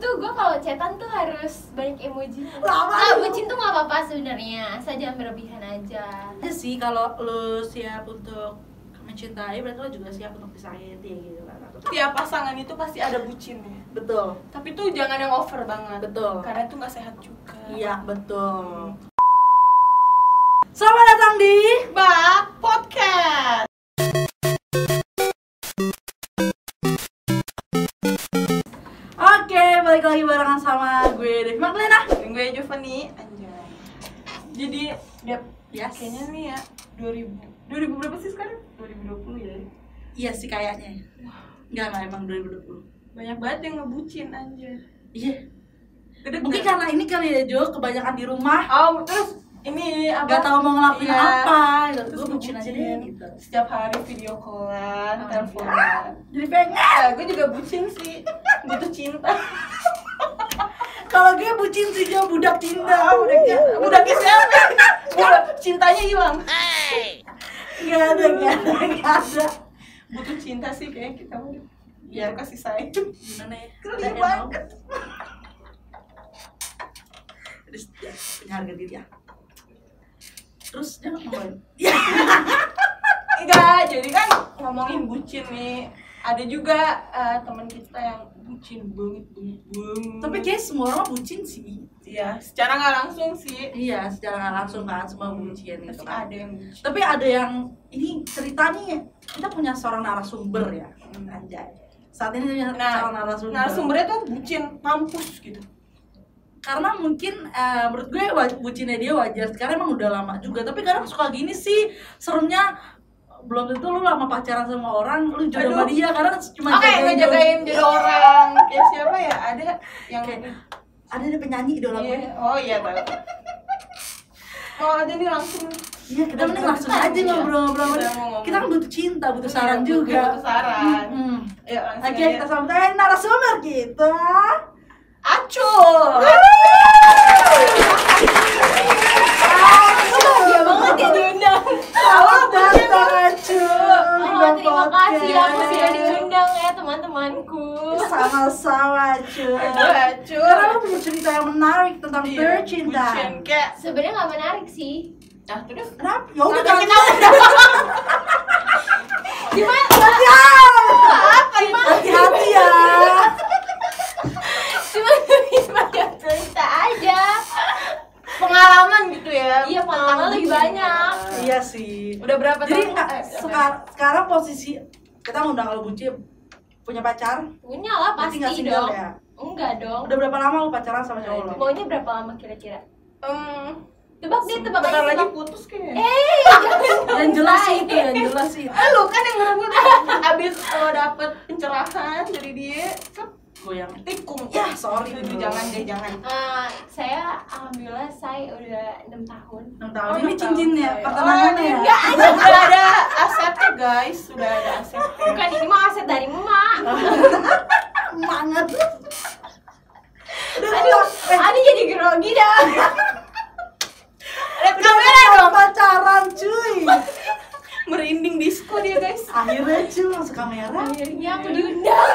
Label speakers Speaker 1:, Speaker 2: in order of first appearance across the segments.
Speaker 1: tuh gue kalau chatan tuh harus banyak emoji
Speaker 2: Lama
Speaker 1: nah,
Speaker 2: lu.
Speaker 1: bucin tuh nggak apa-apa sebenarnya saya jangan berlebihan aja
Speaker 2: Itu sih kalau lu siap untuk mencintai berarti lu juga siap untuk disayati gitu kan Aku tuh-
Speaker 3: Tiap pasangan itu pasti ada bucinnya.
Speaker 2: betul
Speaker 3: Tapi tuh jangan yang over banget.
Speaker 2: Betul.
Speaker 3: Karena itu nggak sehat juga.
Speaker 2: iya betul selamat datang di
Speaker 3: Bak podcast.
Speaker 2: oke balik lagi barengan sama gue Devi Maglena
Speaker 3: Dan gue Jovani, ya, anjay. Jadi, Dep,
Speaker 2: Yes.
Speaker 3: kayaknya nih ya 2000. 2000 berapa sih sekarang? 2020 ya.
Speaker 2: iya sih kayaknya Enggak, enggak, emang 2020
Speaker 3: Banyak banget yang ngebucin anjir.
Speaker 2: Iya
Speaker 3: Gede
Speaker 2: Mungkin karena ini kali ya Jo, kebanyakan di rumah
Speaker 3: Oh, terus ini
Speaker 2: Gak
Speaker 3: apa?
Speaker 2: tahu mau ngelakuin
Speaker 3: Iya.
Speaker 2: apa gitu.
Speaker 3: Terus
Speaker 2: Gue bucin aja deh
Speaker 3: ya,
Speaker 2: gitu
Speaker 3: Setiap hari video callan,
Speaker 2: Oh,
Speaker 3: teleponan.
Speaker 2: Jadi pengen
Speaker 3: Ya, gue juga bucin sih. Butuh cinta.
Speaker 2: Kalau gue bucin sih Jo, budak cinta
Speaker 3: Budaknya, budaknya siapa? Budak cintanya hilang.
Speaker 2: Gak ada, gak ada, gak ada
Speaker 3: Butuh cinta sih kayak kita. Ya kasih sayang.
Speaker 2: Gimana ya?
Speaker 3: Keren
Speaker 2: Emang.
Speaker 3: banget.
Speaker 2: Terus ya, punya harga diri ya Terus dia ngapain?
Speaker 3: Enggak, jadi kan ngomongin bucin nih. Ada juga eh, teman kita yang bucin banget, banget, banget.
Speaker 2: Tapi kayak semua orang bucin sih
Speaker 3: Iya, secara nggak langsung sih.
Speaker 2: Iya, secara nggak langsung kan semua bucin gitu
Speaker 3: Pasti
Speaker 2: kan
Speaker 3: ada yang bucin.
Speaker 2: Tapi ada yang, ini ceritanya ya Kita punya seorang narasumber ya
Speaker 3: Hmm.
Speaker 2: Anjay Saat ini dia punya
Speaker 3: Nah,
Speaker 2: seorang narasumber
Speaker 3: narasumbernya tuh bucin mampus gitu.
Speaker 2: karena mungkin eh, menurut gue wa- bucinnya dia wajar sekarang emang udah lama juga tapi kadang suka gini sih seremnya belum tentu lu lama pacaran sama orang lu jodoh sama
Speaker 3: Aduh.
Speaker 2: dia karena cuma
Speaker 3: Oke, ngejagain jadi orang. Kayak siapa ya? Ada yang
Speaker 2: Kayak, ada ada penyanyi idola
Speaker 3: Iya.
Speaker 2: gue
Speaker 3: Oh iya tahu. Mau aja nih langsung.
Speaker 2: iya kita
Speaker 3: Dan
Speaker 2: mending langsung
Speaker 3: kebetulan,
Speaker 2: aja
Speaker 3: iya.
Speaker 2: ngobrol-ngobrol
Speaker 3: Kita mau ngomong.
Speaker 2: kita kan butuh cinta butuh saran
Speaker 3: Iya,
Speaker 2: juga
Speaker 3: Butuh saran.
Speaker 2: Mm-mm.
Speaker 3: Ayo Ya, langsung.
Speaker 2: oke
Speaker 3: aja.
Speaker 2: kita sambut aja narasumber kita
Speaker 3: acul.
Speaker 2: Ah,
Speaker 1: Bahagia
Speaker 2: iya
Speaker 1: banget ya diundang
Speaker 2: Selamat datang Acul di
Speaker 1: oh, terima
Speaker 2: Podcast.
Speaker 1: kasih ya aku sudah diundang ya teman-temanku
Speaker 2: sama-sama Acul
Speaker 3: Acul, Acul.
Speaker 2: karena lu punya cerita yang menarik tentang
Speaker 3: Iya,
Speaker 2: bercinta
Speaker 3: bucin. Kayak
Speaker 1: sebenarnya nggak menarik sih
Speaker 3: Nah, terus
Speaker 2: Kenapa? Ya udah
Speaker 3: Kenapa
Speaker 2: jangan
Speaker 3: kita
Speaker 1: gimana
Speaker 2: Jangan! Hati-hati ya
Speaker 1: cuma lebih banyak cerita aja
Speaker 3: pengalaman gitu ya.
Speaker 1: Iya, pengalaman
Speaker 3: Tentang
Speaker 1: lebih
Speaker 3: bucin.
Speaker 1: banyak.
Speaker 2: Iya sih
Speaker 3: Udah berapa
Speaker 2: Jadi
Speaker 3: tahun?
Speaker 2: nggak,
Speaker 3: Eh,
Speaker 2: sekar- sekarang posisi Kita ngundang kalau buci punya pacar
Speaker 1: punya lah pasti
Speaker 2: Berarti nggak single
Speaker 1: dong
Speaker 2: ya?
Speaker 1: enggak dong
Speaker 2: Udah berapa lama lu pacaran sama cowok lo?
Speaker 1: maunya berapa lama kira-kira
Speaker 3: Hmm,
Speaker 1: tebak deh tebak
Speaker 3: bentar
Speaker 1: aja
Speaker 3: lagi Iya,
Speaker 1: tebak.
Speaker 3: putus kayaknya.
Speaker 1: eh
Speaker 2: Dan jelas sih itu, dan jelas sih itu
Speaker 3: Eh lu kan yang ngerebut Abis lo dapet pencerahan dari dia kan
Speaker 2: Goyang
Speaker 3: tikung
Speaker 2: Ya, sorry,
Speaker 3: Aduh,
Speaker 2: bro.
Speaker 3: jangan deh, jangan
Speaker 1: Eh, saya alhamdulillah saya udah enam tahun
Speaker 2: 6 tahun,
Speaker 3: Oh,
Speaker 2: ini
Speaker 3: enam
Speaker 2: cincinnya,
Speaker 3: tahun.
Speaker 2: pertenangannya
Speaker 3: Oh,
Speaker 2: ya?
Speaker 3: enggak, anjir. Sudah ada asetnya guys, sudah ada asetnya
Speaker 1: bukan ini mah aset dari emak
Speaker 2: Semangat Udah
Speaker 1: aduh
Speaker 2: eh,
Speaker 1: aduh jadi grogi dah
Speaker 3: Lihat
Speaker 2: udah
Speaker 3: kamera
Speaker 2: setahun
Speaker 3: dong
Speaker 2: pacaran cuy
Speaker 3: Merinding disco dia guys
Speaker 2: Akhirnya cuy masuk kamera
Speaker 3: Iya.
Speaker 1: akhirnya aku diundang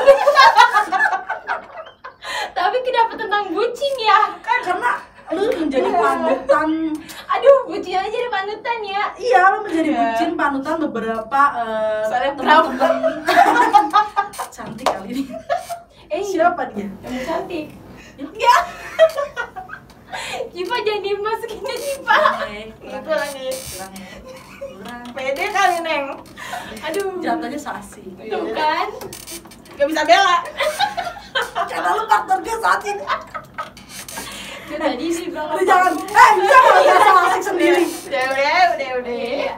Speaker 1: tapi kenapa tentang bucin ya
Speaker 2: Kan karena lu
Speaker 3: Iya.
Speaker 2: menjadi panutan
Speaker 1: aduh bucin aja jadi panutan ya
Speaker 2: Iya, lo menjadi
Speaker 3: Iya.
Speaker 2: bucin panutan beberapa eh,
Speaker 3: Selebgram.
Speaker 2: cantik kali ini.
Speaker 1: eh
Speaker 2: Siapa dia?
Speaker 1: yang cantik
Speaker 2: Enggak.
Speaker 1: Cipa jangan dimasukin ya Cipa
Speaker 3: Itu lagi
Speaker 2: Kurang.
Speaker 3: Pede kali Neng
Speaker 1: aduh
Speaker 2: Jatuhnya sasi.
Speaker 1: tuh kan
Speaker 3: Gak bisa bela
Speaker 2: Karena lu faktor gue saat ini.
Speaker 1: Itu tadi sih bilang
Speaker 2: Lu jangan. Eh, bisa kalau nggak salah asik sendiri.
Speaker 3: Udah, udah, udah, udah
Speaker 1: Iya.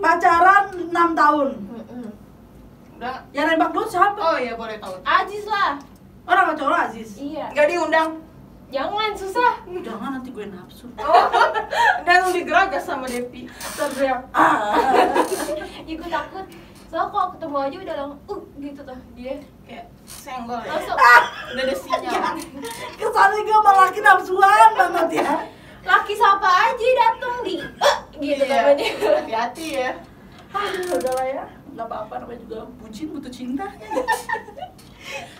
Speaker 2: Pacaran 6 tahun.
Speaker 3: Udah
Speaker 2: Yang nembak lu siapa?
Speaker 3: Oh iya boleh tahu
Speaker 1: Ajis lah
Speaker 2: Orang cowok lu, Aziz.
Speaker 1: iya
Speaker 3: Gak diundang
Speaker 1: jangan susah
Speaker 2: Jangan nanti gue nafsu.
Speaker 3: Oh, dan lu digeragas sama Devi
Speaker 2: Terus ah.
Speaker 1: ikut takut soalnya kalau ketemu aja udah langsung uh gitu tuh dia
Speaker 3: Kayak senggol ya Iya,
Speaker 1: langsung
Speaker 3: Udah ada sinyal
Speaker 2: Kesannya gue sama laki nafsuan banget ya.
Speaker 1: laki siapa aja dateng di "Eh," gitu
Speaker 3: Iya.
Speaker 1: sama dia
Speaker 3: Hati-hati ya
Speaker 2: Aduh, udah lah ya. Gak apa-apa, namanya juga bucin butuh cinta.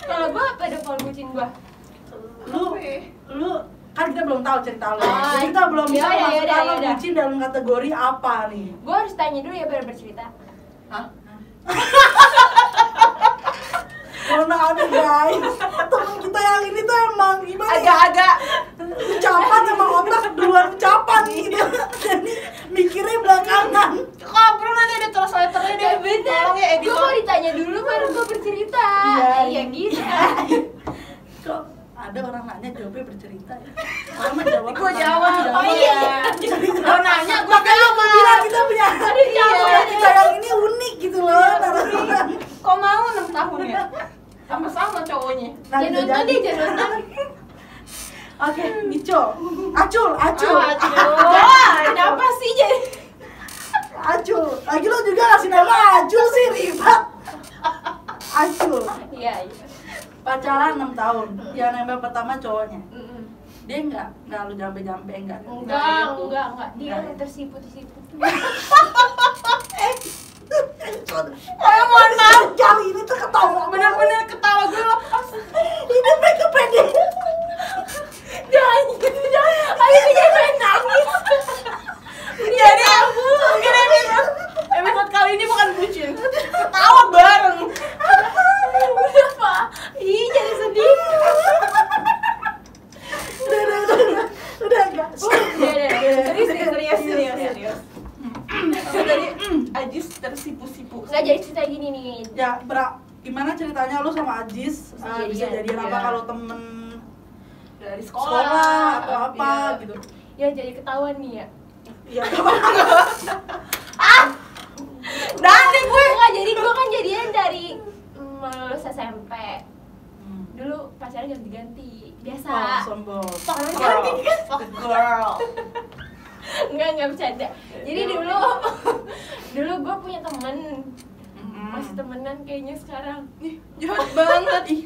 Speaker 1: kalau gua pada pola bucin gua
Speaker 2: lu
Speaker 3: Apa ya?
Speaker 2: lu kan kita belum tahu cerita lu
Speaker 1: Ah,
Speaker 2: jadi kita belum bisa
Speaker 1: iya, iya,
Speaker 2: masuk
Speaker 1: iya,
Speaker 2: dalam
Speaker 1: iya.
Speaker 2: bucin dalam kategori apa nih
Speaker 1: Gue harus tanya dulu ya baru bercerita.
Speaker 3: Hah?
Speaker 2: karena ada guys teman kita yang ini tuh emang gimana ya
Speaker 3: Agak-agak
Speaker 2: ucapan emang otak duluan ucapan gitu jadi mikirnya belakangan
Speaker 3: Kabur nanti ada translatornya deh Tolong ya
Speaker 1: Gue mau
Speaker 3: editor
Speaker 1: ditanya dulu baru gue bercerita.
Speaker 2: Iya,
Speaker 1: Iya gitu.
Speaker 2: kok ada orang nanya jawabnya bercerita ya orang mah jawab
Speaker 3: Gua jawab.
Speaker 2: pertanyaan,
Speaker 3: Oh, iya.
Speaker 2: jadi
Speaker 3: Lo nanya gue
Speaker 2: makanya aku bilang kita punya ada
Speaker 3: jawab. Iya,
Speaker 2: kita yang ini unik gitu loh narasumber.
Speaker 3: Kok mau 6 tahun ya? Sama-sama cowoknya
Speaker 2: Nah,
Speaker 1: Jangan
Speaker 2: bisa
Speaker 1: nonton
Speaker 2: jadi.
Speaker 1: deh, jangan nonton.
Speaker 2: Oke, Ico. Acul, acul.
Speaker 3: Ah, Acul.
Speaker 2: Ah,
Speaker 1: Kenapa sih jadi?
Speaker 2: acul. Lagi lo juga ngasih nama Acul sih, ribet. Acul.
Speaker 1: Iya iya.
Speaker 2: Pacaran 6 tahun. Yang nembak pertama cowoknya.
Speaker 1: Mm-mm.
Speaker 2: Dia enggak, enggak lu jampe-jampe enggak.
Speaker 1: Enggak,
Speaker 3: itu.
Speaker 1: enggak, enggak. Dia
Speaker 2: Enggak.
Speaker 1: yang tersipu-tersipu.
Speaker 2: Eh, mohon maaf. Jauh ini tuh ketawa.
Speaker 3: Bener-bener ketawa gue lepas
Speaker 2: Ini mereka pede.
Speaker 1: Jangan gitu, jangan. Ayo jadi pengen nangis.
Speaker 3: Jadi aku Mungkin episode Episode kali ini bukan bucin Ketawa bareng
Speaker 1: Udah, Pak. Ih, jadi sedih.
Speaker 2: Udah, udah, udah, udah. Udah enggak.
Speaker 3: Iya,
Speaker 1: Udah, udah, udah.
Speaker 3: Serius, serius, serius, serius Jadi Ajis tersipu-sipu
Speaker 1: Enggak jadi cerita gini nih.
Speaker 2: Ya, bra, gimana ceritanya lu sama Ajis
Speaker 1: Bisa
Speaker 2: eh, bisa
Speaker 1: jadian.
Speaker 2: jadian apa
Speaker 3: Iya.
Speaker 2: kalau temen
Speaker 3: Dari sekolah,
Speaker 2: sekolah atau apa
Speaker 3: Iya.
Speaker 2: gitu?
Speaker 1: Ya jadi ketahuan nih ya.
Speaker 2: Iya, apa?
Speaker 1: Dari gue nggak jadi gue kan jadian dari mm, lulus SMP. Dulu pacarnya ganti-ganti. Biasa.
Speaker 2: Oh, sombong.
Speaker 1: Soalnya
Speaker 3: Girl.
Speaker 1: ganti
Speaker 3: Fuck girl
Speaker 1: Enggak, enggak bercanda. Jadi dulu dulu gue punya temen
Speaker 2: Hmm.
Speaker 1: masih temenan kayaknya sekarang.
Speaker 3: Nih, jahat banget ih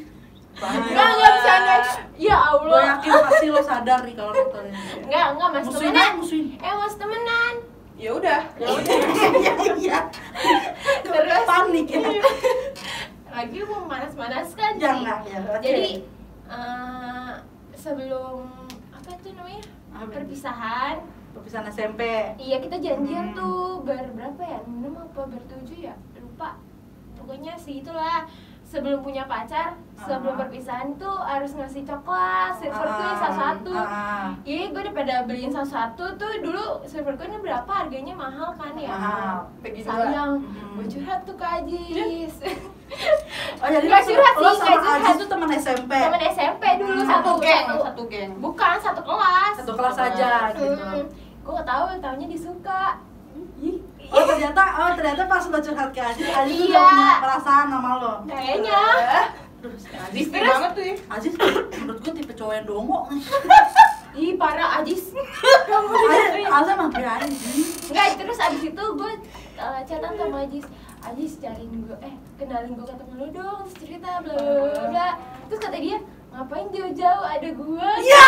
Speaker 2: Nah,
Speaker 1: Enggak, enggak bercanda. Ya
Speaker 2: Gue
Speaker 1: Allah.
Speaker 2: yakin pasti lo sadar nih kalau nonton ini.
Speaker 1: Enggak, enggak masih
Speaker 2: Musuhin
Speaker 1: temenan.
Speaker 2: aja, musuhin.
Speaker 1: Eh, masih temenan.
Speaker 3: Ya udah
Speaker 2: Ya udah. Iya, iya. Terus panik ya.
Speaker 1: Lagi mau manas-manaskan sih.
Speaker 2: Jangan ya. oke.
Speaker 1: Jadi eh, sebelum apa tuh namanya?
Speaker 2: Apa?
Speaker 1: Perpisahan.
Speaker 2: Ah, perpisahan SMP.
Speaker 1: Iya, kita janjian
Speaker 2: Hmm.
Speaker 1: tuh ber berapa ya? 6 apa bertujuh ya? Lupa. Pokoknya sih itulah sebelum punya pacar, sebelum
Speaker 2: Ah.
Speaker 1: perpisahan tuh harus ngasih coklat, silver
Speaker 2: Ah,
Speaker 1: queen satu-satu.
Speaker 2: ah,
Speaker 1: Iya, gue udah pada beliin satu-satu tuh dulu silver coinnya berapa harganya mahal kan ya?
Speaker 2: Mahal.
Speaker 3: Pergi dulu
Speaker 1: Sayang,
Speaker 2: Ah. Hmm. Eh.
Speaker 1: gue curhat tuh ke Ajis.
Speaker 2: Oh, jadi
Speaker 1: Nggak
Speaker 2: lo-
Speaker 1: curhat sih,
Speaker 2: lo
Speaker 1: nggak
Speaker 2: sama
Speaker 1: curhat.
Speaker 2: Ajis tuh teman SMP.
Speaker 1: Temen SMP dulu
Speaker 2: Hmm.
Speaker 1: satu
Speaker 3: Satu geng
Speaker 1: satu-
Speaker 3: Satu geng
Speaker 1: Bukan satu kelas.
Speaker 2: Satu kelas aja
Speaker 1: Hmm.
Speaker 2: gitu.
Speaker 1: Gue gak tahu, tahunya disuka.
Speaker 2: Ih. Oh ternyata, oh ternyata pas lo curhat ke Ajis, Ajis tuh
Speaker 1: Iya.
Speaker 2: udah punya perasaan sama lo.
Speaker 1: Kayaknya.
Speaker 2: Terus Ajis,
Speaker 3: Distrik banget tuh ya
Speaker 2: Ajis menurut gue tipe cowok yang dongok nih.
Speaker 1: Ih, parah Ajis.
Speaker 2: Ajis, Ajis emang berani.
Speaker 1: Enggak, terus abis itu gue uh, chatan sama Ajis Ajis cariin gue, eh kenalin gue ke temen lu dong Terus cerita bla bla bla, bla Terus kata dia, ngapain jauh-jauh ada gue
Speaker 2: Iya.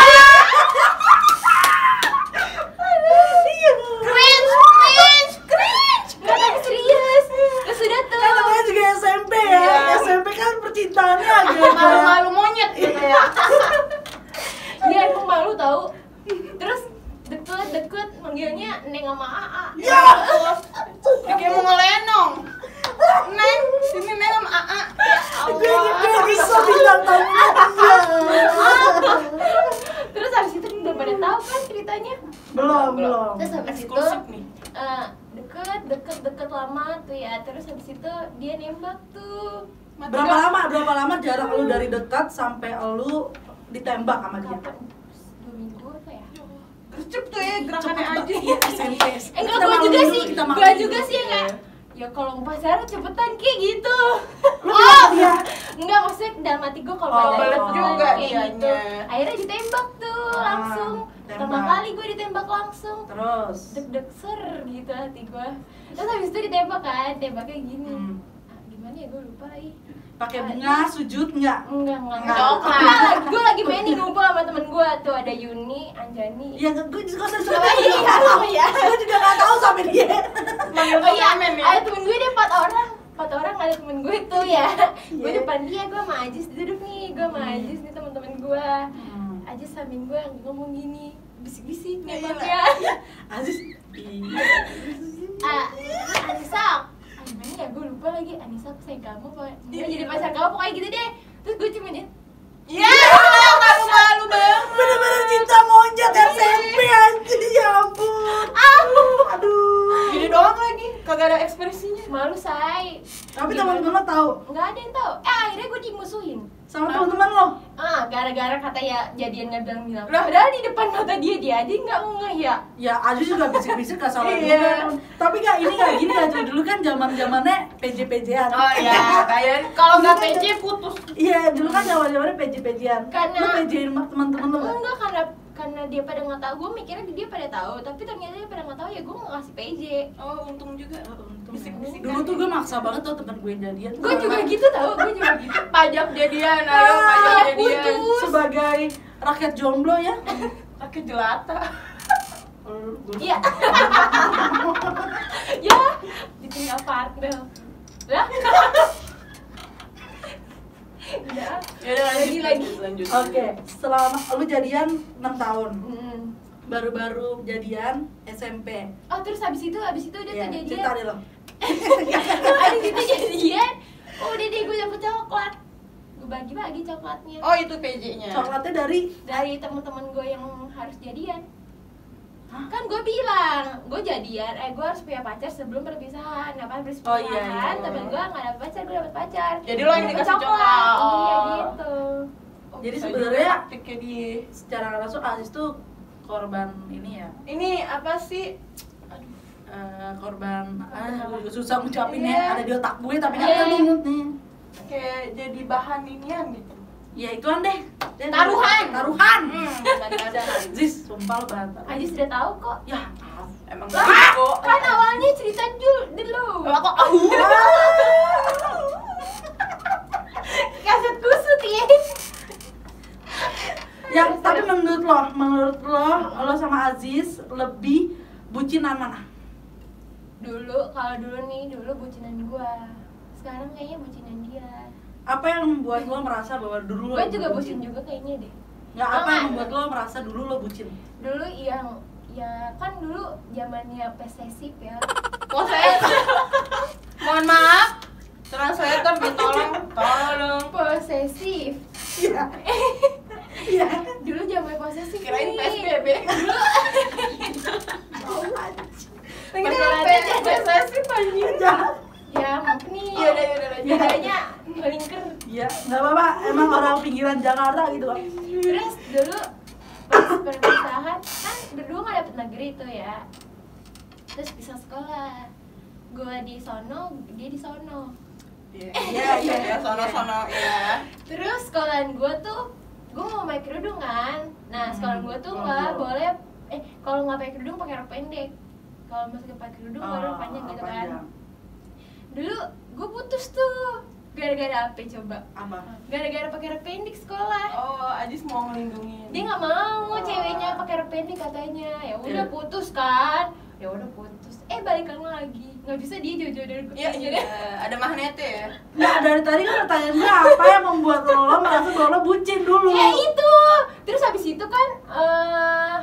Speaker 1: Cringe, cringe, cringe Gak tapi serius Terus udah tuh
Speaker 2: Kan namanya juga SMP ya.
Speaker 3: Iya.
Speaker 2: SMP kan percintaannya agak
Speaker 3: Malu-malu monyet gitu ya
Speaker 1: Dia emang malu tau Terus deket deket manggilnya Neng sama Aa
Speaker 2: Ya.
Speaker 3: Kayak mau ngelenong Neng, sini Neng sama Aa Ya
Speaker 2: Gue
Speaker 3: Allah
Speaker 2: gue bisa bintang tamunya.
Speaker 1: Terus abis itu udah pada tau kan ceritanya
Speaker 2: Belum, belum.
Speaker 1: Terus abis itu
Speaker 3: Eksklusif nih
Speaker 1: eh, deket deket deket lama tuh ya terus habis itu dia nembak tuh
Speaker 3: Mati
Speaker 2: Berapa
Speaker 3: gak?
Speaker 2: lama? Berapa lama jarak lu dari dekat sampai lu ditembak sama dia?
Speaker 1: kapan dua minggu apa ya
Speaker 3: Gercep tuh ya gerakannya aja
Speaker 2: Iya, SMP.
Speaker 1: eh enggak
Speaker 2: Kita
Speaker 1: gua
Speaker 2: malu
Speaker 1: juga
Speaker 2: dulu,
Speaker 1: sih
Speaker 2: kita malu
Speaker 1: gua
Speaker 2: dulu.
Speaker 1: juga sih enggak ya kalau mau pacaran cepetan kayak gitu
Speaker 2: Lu
Speaker 1: Oh!
Speaker 2: nembak dia?
Speaker 1: enggak maksudnya dalam hati gua kalau
Speaker 2: Oh,
Speaker 1: pacaran
Speaker 2: balet
Speaker 1: cepetan
Speaker 2: juga
Speaker 1: kayak
Speaker 3: dianya.
Speaker 1: gitu akhirnya ditembak tuh
Speaker 2: Ah,
Speaker 1: langsung pertama
Speaker 2: tembak.
Speaker 1: kali gua ditembak langsung
Speaker 2: Terus.
Speaker 1: deg-deg ser gitu hati gua terus habis itu ditembak kan tembaknya gini
Speaker 2: Hmm.
Speaker 1: Ah, gimana ya gua lupa ih
Speaker 2: Pakai bunga sujud enggak?
Speaker 1: Enggak, enggak,
Speaker 2: Enggak.
Speaker 1: enggak. Gue lagi main di ngumpul sama temen gue tuh ada Yuni, Anjani.
Speaker 2: Ya gue juga usah
Speaker 1: Oh, iya,
Speaker 2: Gue juga gak tahu sampai dia.
Speaker 3: Manggil
Speaker 1: Oh iya,
Speaker 3: pengamen ya
Speaker 1: ada temen gue deh empat orang. empat orang ada temen gue tuh ya gue depan dia gue sama Ajis duduk nih gue sama Ajis nih teman-teman gue
Speaker 2: Hmm.
Speaker 1: Ajis samin gue ngomong gini bisik-bisik nih
Speaker 3: Iya.
Speaker 1: ya
Speaker 2: Aziz
Speaker 1: Ah, Anissa gimana ya gue lupa lagi Anissa aku sayang kamu apa dia jadi pacar kamu pokoknya gitu deh terus gue cuman ya
Speaker 3: Iya, malu malu banget.
Speaker 2: bener-bener cinta monjat SMP anjir ya ampun aduh
Speaker 3: Gini doang lagi, kagak ada ekspresinya.
Speaker 1: malu say
Speaker 2: tapi teman-teman lo tahu
Speaker 1: nggak ada yang tahu eh akhirnya gue dimusuhin
Speaker 2: sama teman-teman lo
Speaker 1: ah gara-gara kata ya jadian nggak bilang bilang
Speaker 3: Lah.
Speaker 1: padahal di depan mata dia dia aja nggak ngeh ya
Speaker 2: ya Aziz juga bisik-bisik gak salah
Speaker 3: Iya.
Speaker 2: juga tapi gak ini gak gini aja dulu kan zaman zamannya pj pjan
Speaker 3: Oh iya, kalian kalau nggak PC putus.
Speaker 2: Iya, dulu kan zaman zamannya pj pjan
Speaker 1: Karena-
Speaker 2: lo pj-in sama teman-teman lo gak?
Speaker 1: enggak karena karena dia pada nggak tahu gue mikirnya dia pada tahu tapi ternyata dia pada nggak tahu ya gue nggak ngasih PJ
Speaker 3: Oh untung juga. Bisik-bisik kan.
Speaker 2: dulu tuh gue maksa banget tuh teman gue jadian
Speaker 1: gue juga gitu tau gue juga gitu
Speaker 3: Pajak jadian, ayo
Speaker 2: Ah,
Speaker 3: pajak
Speaker 2: putus.
Speaker 3: jadian.
Speaker 2: sebagai rakyat jomblo ya
Speaker 3: Pakai jelata.
Speaker 1: iya ya ditinggal partner lah ya
Speaker 3: Ya udah
Speaker 1: Lagi, lagi.
Speaker 3: lanjut.
Speaker 2: oke selama lu jadian 6 tahun
Speaker 1: Hmm.
Speaker 2: baru-baru jadian SMP
Speaker 1: oh terus habis itu habis itu udah
Speaker 2: Iya,
Speaker 1: tuh jadian
Speaker 2: cerita deh lo
Speaker 1: habis itu jadian oh udah deh gue dapet coklat gue bagi-bagi coklatnya
Speaker 3: Oh itu PJ-nya.
Speaker 2: coklatnya dari
Speaker 1: dari temen-temen gue yang harus jadian kan gue bilang gue jadian eh gue harus punya pacar sebelum perpisahan nah pas perpisahan
Speaker 2: Oh, iya, iya.
Speaker 1: temen gue nggak dapet pacar gue dapet pacar
Speaker 3: Jadi lo yang
Speaker 1: Dapet
Speaker 3: dikasih coklat.
Speaker 1: iya
Speaker 3: Oh.
Speaker 1: gitu
Speaker 3: Oh,
Speaker 2: Jadi
Speaker 3: bisa
Speaker 2: sebenarnya-
Speaker 3: juga taktiknya dia.
Speaker 2: secara nggak langsung Aziz tuh korban ini ya
Speaker 3: Ini apa sih?
Speaker 2: eh, korban ah, gue susah ngucapinnya
Speaker 3: Iya.
Speaker 2: ada di otak gue tapi nggak
Speaker 1: Iya.
Speaker 2: ada inget nih
Speaker 3: Kayak jadi bahan inian gitu.
Speaker 2: ya ituan deh Deh,
Speaker 1: Taruhan.
Speaker 2: taruhan
Speaker 3: Hmm, kadang-kadang.
Speaker 2: Aziz sumpah lo bahan taruhan
Speaker 1: Ajis sudah tahu kok
Speaker 2: ya
Speaker 3: Emang
Speaker 1: Lah,
Speaker 3: jago.
Speaker 1: kan awalnya cerita Jul dulu
Speaker 3: Lah, kok aku?
Speaker 1: Uh. kaset kusut ya
Speaker 2: yang Ya, tapi menurut lo menurut lo lo sama Aziz lebih bucinan mana
Speaker 1: dulu kalau dulu nih dulu bucinan gue sekarang kayaknya bucinan dia
Speaker 2: apa yang membuat lo merasa bahwa dulu lo
Speaker 1: gue juga bucin juga kayaknya deh
Speaker 2: nggak apa yang
Speaker 1: Banget.
Speaker 2: membuat lo merasa dulu lo bucin
Speaker 1: dulu yang ya kan dulu zamannya posesif ya
Speaker 3: Mau saya Mohon maaf. Translator ditolong, tolong.
Speaker 1: posesif
Speaker 2: iya iya
Speaker 1: dulu zaman posesif
Speaker 3: Kirain
Speaker 1: nih.
Speaker 3: PSBB.
Speaker 1: Lagi
Speaker 3: Pacaran
Speaker 1: apa?
Speaker 3: PSBB
Speaker 1: Iya.
Speaker 3: anjing.
Speaker 1: ya maaf nih
Speaker 3: Iya, udah, udah, udah.
Speaker 1: bedanya melingkar
Speaker 2: iya nggak apa-apa emang orang pinggiran Jakarta gitu kan
Speaker 1: terus dulu pas perpisahan kan berdua nggak dapet negeri tuh ya terus bisa sekolah gue di sono dia di sono
Speaker 3: Iya, iya, iya, sono-sono ya.
Speaker 1: Terus sekolahan gue tuh, gue mau pakai kerudung kan.
Speaker 3: Hmm,
Speaker 1: Nah sekolahan gue tuh
Speaker 2: Oh,
Speaker 1: nggak
Speaker 2: iya.
Speaker 1: boleh, eh kalau nggak pakai kerudung pakai rok pendek. Kalau masih pakai kerudung baru
Speaker 3: Oh,
Speaker 2: Ah,
Speaker 1: panjang gitu kan.
Speaker 2: panjang.
Speaker 1: Dulu gue putus tuh gara-gara apa coba?
Speaker 2: apa
Speaker 1: Gara-gara pakai rok pendek sekolah.
Speaker 3: Oh, Ajis mau ngelindungin.
Speaker 1: Dia nggak mau
Speaker 3: Oh.
Speaker 1: ceweknya pakai rok pendek katanya. Ya udah
Speaker 2: Iya.
Speaker 1: putus kan. Ya udah putus. Eh balikan lagi. Nggak bisa dia jauh-jauh dari gue.
Speaker 3: Iya, iya. Ada magnetnya ya.
Speaker 2: Nah dari tadi kan pertanyaan gue apa yang membuat lo, lo merasa bahwa lo bucin dulu
Speaker 1: ya itu terus habis itu kan eh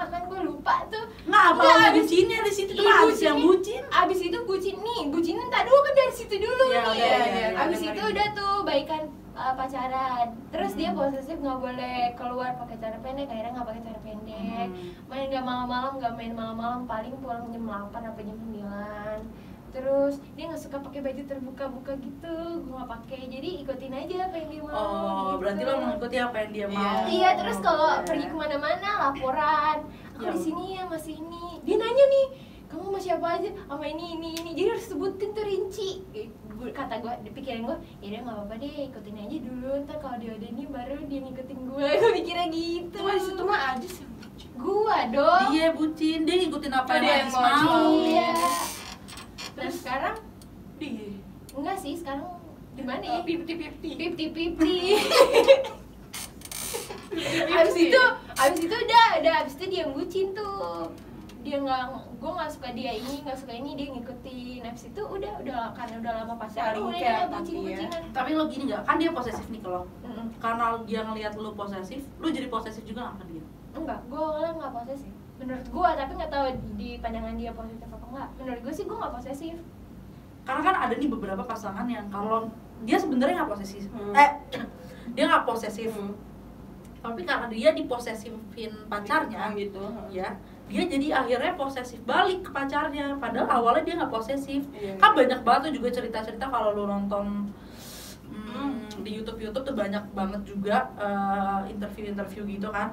Speaker 1: akan gue lupa tuh
Speaker 2: Nggak apa
Speaker 1: Nggak,
Speaker 2: yang
Speaker 1: abis-
Speaker 2: bucinnya di situ
Speaker 1: Ih,
Speaker 2: cuma Aziz yang Iya. bucin
Speaker 1: bucinnya- abis itu bucin nih bucinin tak dulu kan dari situ dulu
Speaker 2: Iya,
Speaker 1: nih
Speaker 2: iya, iya, iya,
Speaker 1: abis
Speaker 3: dengerin.
Speaker 1: itu udah tuh baikan eh, pacaran terus dia
Speaker 2: Hmm.
Speaker 1: posesif nggak boleh keluar pakai cara pendek akhirnya nggak pakai cara pendek
Speaker 2: Hmm.
Speaker 1: main nggak malam-malam nggak main malam-malam paling pulang jam 8 apa jam 9 terus dia nggak suka pakai baju terbuka-buka gitu gue nggak pakai jadi ikutin aja apa yang dia mau
Speaker 2: Oh
Speaker 1: gitu.
Speaker 2: berarti lo mengikuti apa yang dia mau
Speaker 1: Iya, terus kalau
Speaker 2: Iya.
Speaker 1: pergi kemana-mana laporan, aku
Speaker 2: Iya.
Speaker 1: di sini ya masih ini. Dia nanya nih, kamu sama siapa aja? Sama ini ini ini. Jadi harus sebutin tuh rinci. Eh, gua- Kata gue, dipikirin gue, ya udah nggak apa-apa deh, ikutin aja dulu. Ntar kalau dia udah ini baru dia ngikutin gue. Gue mikirnya gitu.
Speaker 3: Cuma di situ Iya. mah Ajis yang bucin.
Speaker 1: Gua dong.
Speaker 2: Dia Iya, bucin, dia ngikutin apa
Speaker 3: Dia
Speaker 2: yang Aziz
Speaker 3: yang mau.
Speaker 2: mau
Speaker 1: Iya. Terus
Speaker 3: Terus?
Speaker 1: sekarang
Speaker 3: Dia.
Speaker 1: enggak sih, sekarang gimana ya?
Speaker 3: Fifty-fifty.
Speaker 1: Pipti pipti. abis itu abis itu udah udah abis itu dia yang bucin tuh dia nggak gue nggak suka dia ini nggak suka ini dia ngikutin habis itu udah udah karena udah lama pacaran
Speaker 3: Saling
Speaker 1: udah dia
Speaker 3: care tapi ya.
Speaker 1: bucin bucinan
Speaker 2: tapi lo gini nggak kan dia posesif nih kalau karena dia ngelihat lo posesif lo jadi posesif juga nggak ke dia
Speaker 1: enggak gue awalnya nggak posesif menurut gue tapi nggak tahu di pandangan dia positif apa enggak menurut gue sih gue nggak posesif
Speaker 2: karena kan ada nih beberapa pasangan yang kalau dia sebenarnya nggak posesif
Speaker 3: Hmm.
Speaker 2: eh dia nggak posesif
Speaker 3: Hmm.
Speaker 2: tapi karena dia diposesifin pacarnya
Speaker 3: gitu
Speaker 2: ya dia jadi akhirnya posesif balik ke pacarnya padahal awalnya dia nggak posesif
Speaker 3: Iya.
Speaker 2: kan banyak banget tuh juga cerita-cerita kalau lu nonton
Speaker 3: Hmm.
Speaker 2: mm, di YouTube YouTube tuh banyak banget juga eh, interview-interview gitu kan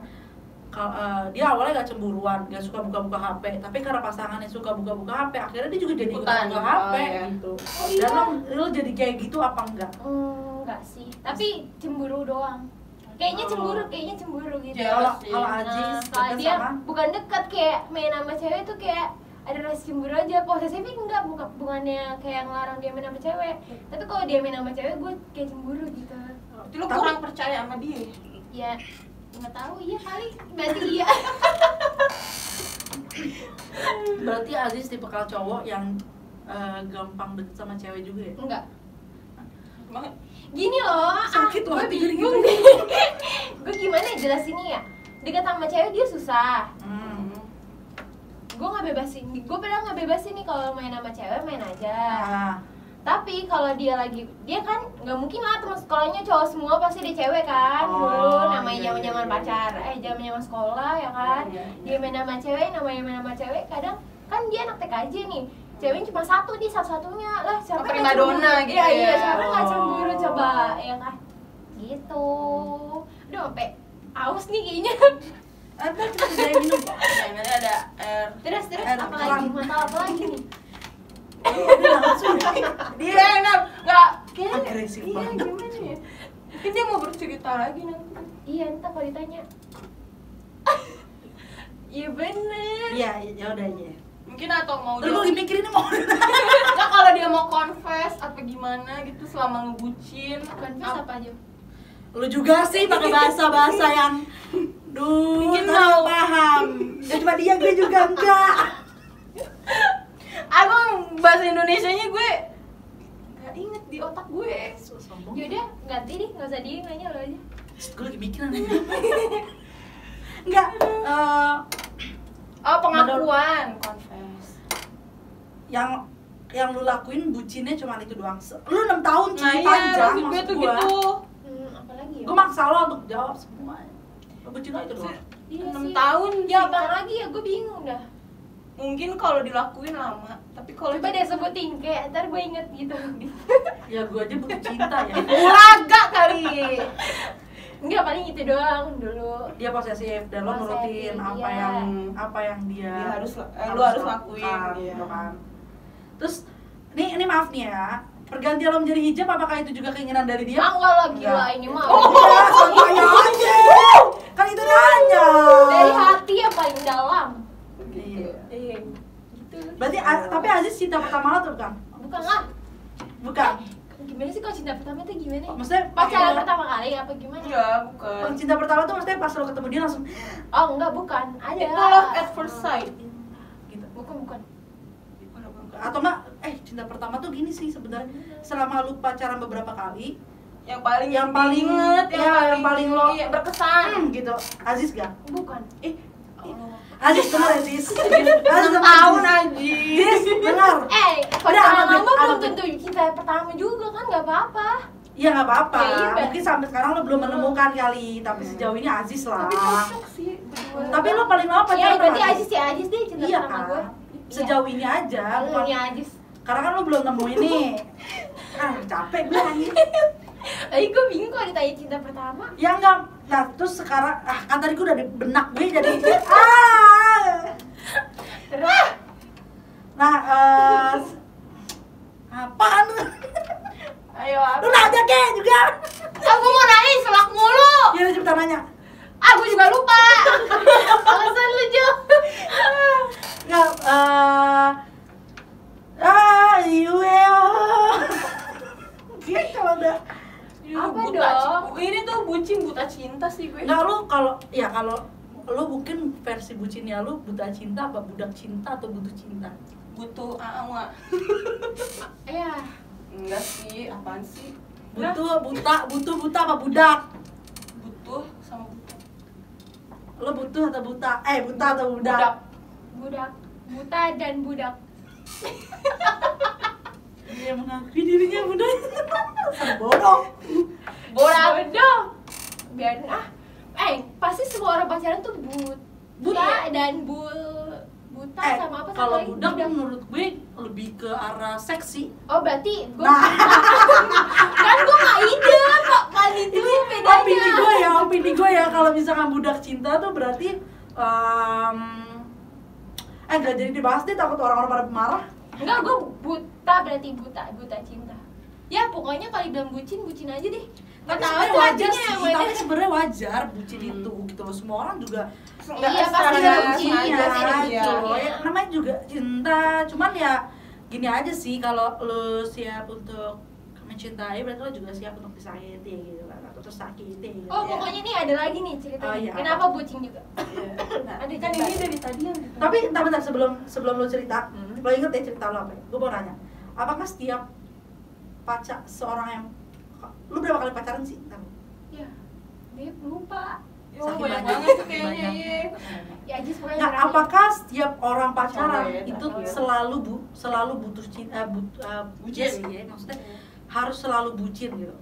Speaker 2: Kal- eh, dia awalnya gak cemburuan, gak suka buka-buka HP tapi karena pasangannya suka buka-buka HP akhirnya dia juga jadi ikut
Speaker 3: Ikutan.
Speaker 2: buka HP
Speaker 3: Oh, iya.
Speaker 2: gitu
Speaker 1: Oh,
Speaker 2: dan
Speaker 1: iya.
Speaker 2: lo, lo jadi kayak gitu apa enggak?
Speaker 1: Hmm, enggak sih tapi cemburu doang kayaknya
Speaker 3: Oh.
Speaker 1: cemburu kayaknya cemburu gitu
Speaker 3: Jealous
Speaker 2: kalau
Speaker 3: sih.
Speaker 2: kalau
Speaker 1: Nah,
Speaker 2: Aji
Speaker 1: kalau
Speaker 2: dekat
Speaker 1: dia
Speaker 2: sama
Speaker 1: bukan dekat kayak main sama cewek tuh kayak ada rasa cemburu aja posesif enggak bukan bukannya kayak ngelarang dia main sama cewek tapi kalau dia main sama cewek gue kayak cemburu gitu
Speaker 3: Berarti lu kurang percaya sama dia
Speaker 1: ya nggak tahu iya kali berarti iya
Speaker 2: berarti Aziz tipe kalau cowok yang eh, gampang deket sama cewek juga ya?
Speaker 1: enggak
Speaker 3: Emang
Speaker 1: gini loh
Speaker 2: Sakit gitu. loh
Speaker 1: gue
Speaker 2: hati gue
Speaker 1: bingung nih gue gimana ya jelasinnya ya dekat sama cewek dia susah
Speaker 2: Hmm.
Speaker 1: gue nggak bebasin gue pernah nggak bebasin nih kalau main sama cewek main aja
Speaker 2: Ah,
Speaker 1: tapi kalau dia lagi dia kan nggak mungkin lah teman sekolahnya cowok semua pasti dia cewek kan
Speaker 2: Oh,
Speaker 1: dulu namanya
Speaker 2: iya,
Speaker 1: zaman zaman
Speaker 2: iya, iya.
Speaker 1: pacar eh zaman zaman sekolah ya kan
Speaker 3: Iya, iya.
Speaker 1: dia main sama cewek namanya main sama cewek kadang kan dia anak TK aja nih ceweknya cuma satu dia satu satunya lah siapa
Speaker 3: Pakai
Speaker 1: nggak
Speaker 3: Madonna
Speaker 1: cemburu?
Speaker 3: gitu
Speaker 1: iya, iya
Speaker 3: ya.
Speaker 1: siapa nggak cemburu
Speaker 2: Oh.
Speaker 1: coba ya kan gitu udah sampai aus nih kayaknya
Speaker 2: ada kita jadi minum.
Speaker 3: Nah, ini ada air
Speaker 1: terus terus
Speaker 2: Eh,
Speaker 1: apa lagi
Speaker 2: kurang.
Speaker 1: masalah apa lagi nih
Speaker 2: Udah langsung.
Speaker 3: dia enak nggak
Speaker 1: Kayaknya-
Speaker 2: Agresif
Speaker 1: iya,
Speaker 2: banget.
Speaker 1: gimana ya
Speaker 3: mungkin dia mau bercerita lagi nanti
Speaker 1: Iya, entah kalau ditanya. Iya bener.
Speaker 2: Iya, ya udah ya.
Speaker 3: mungkin atau mau
Speaker 2: Terus gue lagi mikir ini mau.
Speaker 3: nggak kalau dia mau confess apa gimana gitu selama ngebucin
Speaker 1: Confess apa aja?
Speaker 2: Lu juga sih pakai bahasa-bahasa yang duh,
Speaker 3: Bikin
Speaker 2: tak
Speaker 3: mau.
Speaker 2: paham. Ya cuma dia gue juga enggak.
Speaker 3: abang bahasa Indonesia nya gue nggak inget di otak gue Oh,
Speaker 2: Sombong.
Speaker 1: Yaudah, ganti deh, nggak usah dia nanya lo aja.
Speaker 2: Gue lagi mikirin aja. Enggak. eh,
Speaker 3: oh pengakuan confess
Speaker 2: yang yang lu lakuin bucinnya cuma itu doang. Se- Lu 6 tahun cuy,
Speaker 3: nah iya
Speaker 2: panjang
Speaker 3: maksud gue
Speaker 2: maksud
Speaker 3: tuh
Speaker 2: gua.
Speaker 3: gitu
Speaker 1: Hmm, apalagi ya?
Speaker 2: Gue maksa lo untuk jawab semuanya. Lu bucin lo itu doang.
Speaker 1: Iya
Speaker 3: enam
Speaker 1: sih.
Speaker 3: tahun
Speaker 1: Ya
Speaker 3: sih.
Speaker 1: apa lagi ya? Gue bingung dah.
Speaker 3: mungkin kalau dilakuin lama tapi kalau
Speaker 1: Coba deh sebutin, kayak ntar gue inget gitu.
Speaker 2: Ya gue aja butuh cinta ya.
Speaker 3: Uraga kali
Speaker 1: Enggak paling itu doang dulu.
Speaker 2: dia posesif dan lo
Speaker 1: Posesif,
Speaker 2: nurutin apa
Speaker 1: iya.
Speaker 2: yang apa yang dia,
Speaker 3: Dia harus- eh, lu harus lakuin,
Speaker 2: lakukan,
Speaker 3: iya.
Speaker 2: gitu kan. terus nih ini maaf nih ya pergantian lo menjadi hijab apakah itu juga keinginan dari dia
Speaker 1: Ya enggak lah gila
Speaker 2: Enggak.
Speaker 1: ini mah.
Speaker 3: Oh.
Speaker 2: Ya, santai aja kan itu nanya
Speaker 1: Dari hati yang paling dalam.
Speaker 2: Iya.
Speaker 1: Iya. Gitu.
Speaker 2: berarti A- tapi Aziz cinta pertama lo tuh bukan
Speaker 1: Bukan lah.
Speaker 2: bukan
Speaker 1: Gimana sih kalau cinta pertama tuh gimana?
Speaker 2: maksudnya
Speaker 1: Pacaran pertama kali apa gimana?
Speaker 3: enggak bukan
Speaker 2: cinta pertama tuh maksudnya pas lo ketemu dia langsung
Speaker 1: Oh enggak bukan, ada.
Speaker 3: itu love at first sight
Speaker 2: gitu
Speaker 1: Bukan bukan.
Speaker 2: atau enggak eh cinta pertama tuh gini sih sebenarnya selama lu pacaran beberapa kali
Speaker 3: yang paling
Speaker 2: Yang paling-
Speaker 3: diinget,
Speaker 2: iya, yang paling lo-
Speaker 3: iya, berkesan
Speaker 2: hmm, gitu Aziz gak
Speaker 1: Bukan.
Speaker 2: Ih, Aziz bener Aziz. Aziz
Speaker 3: enam
Speaker 2: sama
Speaker 3: tahun
Speaker 2: Aziz.
Speaker 3: aja
Speaker 2: Aziz bener.
Speaker 1: Eh, kalau
Speaker 2: Udah,
Speaker 1: pacaran
Speaker 2: anggap-
Speaker 1: lama belum
Speaker 2: anggap-
Speaker 1: tentu cinta pertama juga kan nggak apa-apa.
Speaker 2: Ya nggak apa-apa.
Speaker 1: Ya, iya, Mbak.
Speaker 2: Mungkin sampai sekarang lo belum menemukan kali, tapi sejauh ini Aziz lah.
Speaker 1: Tapi cocok sih. berdua.
Speaker 2: Ah. Tapi lo paling lama
Speaker 1: Iya,
Speaker 2: pacaran
Speaker 1: berarti
Speaker 2: sama
Speaker 1: Ajis ya Ajis deh cinta
Speaker 2: Iya
Speaker 1: pertama
Speaker 2: kan.
Speaker 1: gue.
Speaker 2: Sejauh ini aja.
Speaker 1: Iya.
Speaker 2: bukan-
Speaker 1: Ini Ajis.
Speaker 2: Karena kan lo belum nemuin nih. Ah, capek gue anjing. kan?
Speaker 1: Tapi gue Eh, bingung kalau ditanya cinta pertama.
Speaker 2: Ya enggak. Nah, terus sekarang ah kan tadi gue udah di benak gue jadi ah.
Speaker 1: Terus
Speaker 2: Nah, eh apaan lu?
Speaker 3: ayo
Speaker 2: Lu
Speaker 3: apa
Speaker 2: nanya kek juga.
Speaker 3: aku mau nangis selak mulu
Speaker 2: Ya udah cepetan nanya.
Speaker 1: Ah,
Speaker 3: aku juga lupa
Speaker 1: alasan lucu.
Speaker 2: Nggak, Ya, eh ah, you will. Dia kalau udah
Speaker 1: Apa
Speaker 3: buta
Speaker 1: dong?
Speaker 3: ci- ini tuh bucin buta cinta sih gue
Speaker 2: Nah. nggak lu kalau ya kalau lo mungkin versi bucinnya lo buta cinta apa budak cinta atau butuh cinta
Speaker 3: butuh aawa
Speaker 1: Iya.
Speaker 3: enggak sih apaan sih Nah,
Speaker 2: butuh buta butuh buta apa budak
Speaker 3: butuh sama butuh
Speaker 2: lo butuh atau buta eh buta atau budak,
Speaker 3: Budak.
Speaker 1: Budak, buta dan budak.
Speaker 2: dia mengakui dirinya budak bodoh
Speaker 1: Bodoh. Bodoh. Biarin ah. Eh, pasti semua orang pacaran tuh but, buta dan bul buta
Speaker 2: Iya. eh
Speaker 1: sama apa
Speaker 2: kalau
Speaker 1: lagi?
Speaker 2: budak hmm. menurut gue lebih ke arah seksi
Speaker 1: Oh, berarti gua
Speaker 2: Nah.
Speaker 1: kan gua nggak ide kok kali itu
Speaker 2: opini
Speaker 1: bedanya.
Speaker 2: gue ya opini gue ya kalau misalkan budak cinta tuh berarti em eh gak jadi dibahas deh takut orang-orang pada marah
Speaker 1: Enggak, gua buta berarti buta, buta cinta. Ya, pokoknya kalau bilang bucin, bucin aja deh. Nggak
Speaker 2: tapi
Speaker 1: tahu
Speaker 2: sebenarnya
Speaker 1: tuh
Speaker 2: wajar
Speaker 1: artinya ya.
Speaker 2: sih
Speaker 1: yang
Speaker 2: tapi
Speaker 1: mana.
Speaker 2: sebenarnya wajar bucin
Speaker 3: Hmm.
Speaker 2: itu gitu loh semua orang juga
Speaker 1: Iya,
Speaker 3: Nggak
Speaker 1: pasti
Speaker 3: secara
Speaker 1: ada bucinnya,
Speaker 3: sengaja sih,
Speaker 1: ada
Speaker 3: iya.
Speaker 2: gitu loh
Speaker 1: iya.
Speaker 2: ya, namanya juga cinta cuman ya gini aja sih kalau lo siap untuk mencintai berarti lo juga siap untuk disakiti gitu kan atau tersakiti gitu.
Speaker 1: Oh,
Speaker 3: Iya.
Speaker 1: pokoknya nih ada lagi nih ceritanya.
Speaker 2: Oh, iya.
Speaker 1: Kenapa bucin juga?
Speaker 2: Nah,
Speaker 1: Ada
Speaker 3: kan
Speaker 1: juga.
Speaker 3: ini dari tadi yang ditanya.
Speaker 2: tapi entar bentar sebelum sebelum lo cerita
Speaker 1: Hmm.
Speaker 2: lo inget ya cerita lo apa ya? gue mau nanya apakah setiap pacar seorang yang lo berapa kali pacaran sih Ntar.
Speaker 1: Ya, Beb lupa.
Speaker 3: Ya,
Speaker 2: Saking
Speaker 3: banyak
Speaker 2: banyak.
Speaker 3: banget tuh kayaknya
Speaker 2: Banyak.
Speaker 3: iya.
Speaker 1: Ya, Jis pokoknya
Speaker 2: nah
Speaker 1: terakhir.
Speaker 2: apakah setiap orang pacaran
Speaker 3: Cowok ya,
Speaker 2: itu
Speaker 3: terakhir.
Speaker 2: selalu bu selalu butuh cinta eh, but, eh,
Speaker 3: Bucin.
Speaker 2: bucin ya, maksudnya harus selalu bucin gitu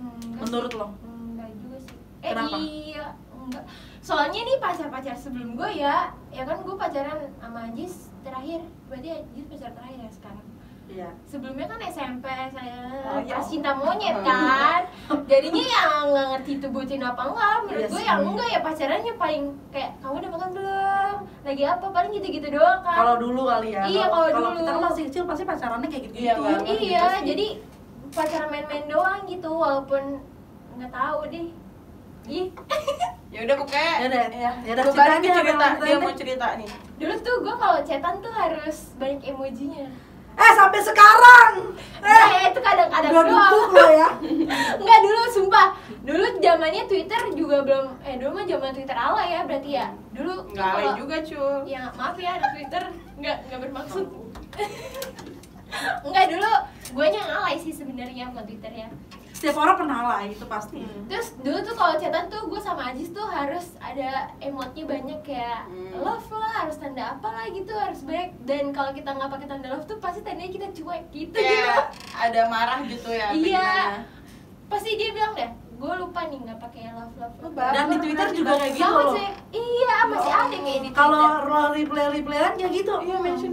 Speaker 1: Hmm, enggak
Speaker 2: menurut
Speaker 1: sih.
Speaker 2: lo
Speaker 1: Enggak juga sih. Eh,
Speaker 2: Kenapa?
Speaker 1: iya, enggak. Soalnya nih pacar-pacar sebelum gue ya, ya kan gue pacaran sama Jis terakhir. Berarti Jis pacar terakhir ya sekarang.
Speaker 2: iya
Speaker 1: sebelumnya kan SMP saya
Speaker 3: Oh,
Speaker 2: ya
Speaker 3: iya.
Speaker 1: pas cinta monyet kan jadinya yang nggak ngerti itu bucin apa enggak menurut
Speaker 2: Iya
Speaker 1: gue
Speaker 2: sih.
Speaker 1: yang enggak ya pacarannya paling kayak kamu udah makan belum lagi apa paling gitu-gitu doang kan
Speaker 2: kalau dulu kali ya
Speaker 1: Iya, kalau
Speaker 2: kalau
Speaker 1: dulu.
Speaker 2: kita kan masih kecil pasti pacarannya kayak gitu
Speaker 3: Iya, banget gitu
Speaker 1: iya
Speaker 3: sih.
Speaker 1: jadi pacaran main-main doang gitu walaupun nggak tahu deh ih
Speaker 3: ya udah pokoknya
Speaker 2: Ya udah,
Speaker 3: ya
Speaker 2: ya udah,
Speaker 3: Gua balik ke
Speaker 2: ceritanya,
Speaker 3: cerita
Speaker 2: apa
Speaker 3: dia
Speaker 2: ceritanya?
Speaker 3: mau cerita nih
Speaker 1: dulu tuh gue kalau chatan tuh harus banyak emojinya
Speaker 2: eh sampai sekarang eh
Speaker 1: eh itu kadang-kadang
Speaker 2: gua
Speaker 1: doang
Speaker 2: duduk lo ya
Speaker 1: Enggak dulu sumpah. Dulu zamannya Twitter juga belum eh dulu mah zaman Twitter ala ya berarti ya. Dulu
Speaker 3: nggak alay
Speaker 1: kalau-
Speaker 3: juga cuy
Speaker 1: Ya maaf ya anak Twitter enggak enggak bermaksud. Enggak dulu gue yang alay sih sebenarnya bukan Twitter ya.
Speaker 2: setiap orang pernah lah itu pasti
Speaker 1: Terus dulu tuh kalau chatan tuh gue sama Ajis tuh harus ada emotnya banyak kayak
Speaker 3: Hmm.
Speaker 1: love lah, harus tanda apa lah gitu, harus break dan kalau kita nggak pakai tanda love tuh pasti tandanya kita cuek gitu gitu.
Speaker 3: kayak Iya, ada marah gitu ya apa
Speaker 1: Iya.
Speaker 3: gimana?
Speaker 1: Pasti dia bilang deh, gue lupa nih nggak pakai love love.
Speaker 3: Lu
Speaker 1: love."
Speaker 3: baper
Speaker 2: Dan di Twitter
Speaker 3: nanti
Speaker 2: juga
Speaker 3: bakal-
Speaker 2: kayak gitu.
Speaker 1: Sama
Speaker 2: loh.
Speaker 1: sih. Iya, masih ada kayak di
Speaker 2: kalau
Speaker 1: Twitter.
Speaker 2: lo replay replayan kayak gitu
Speaker 3: iya mention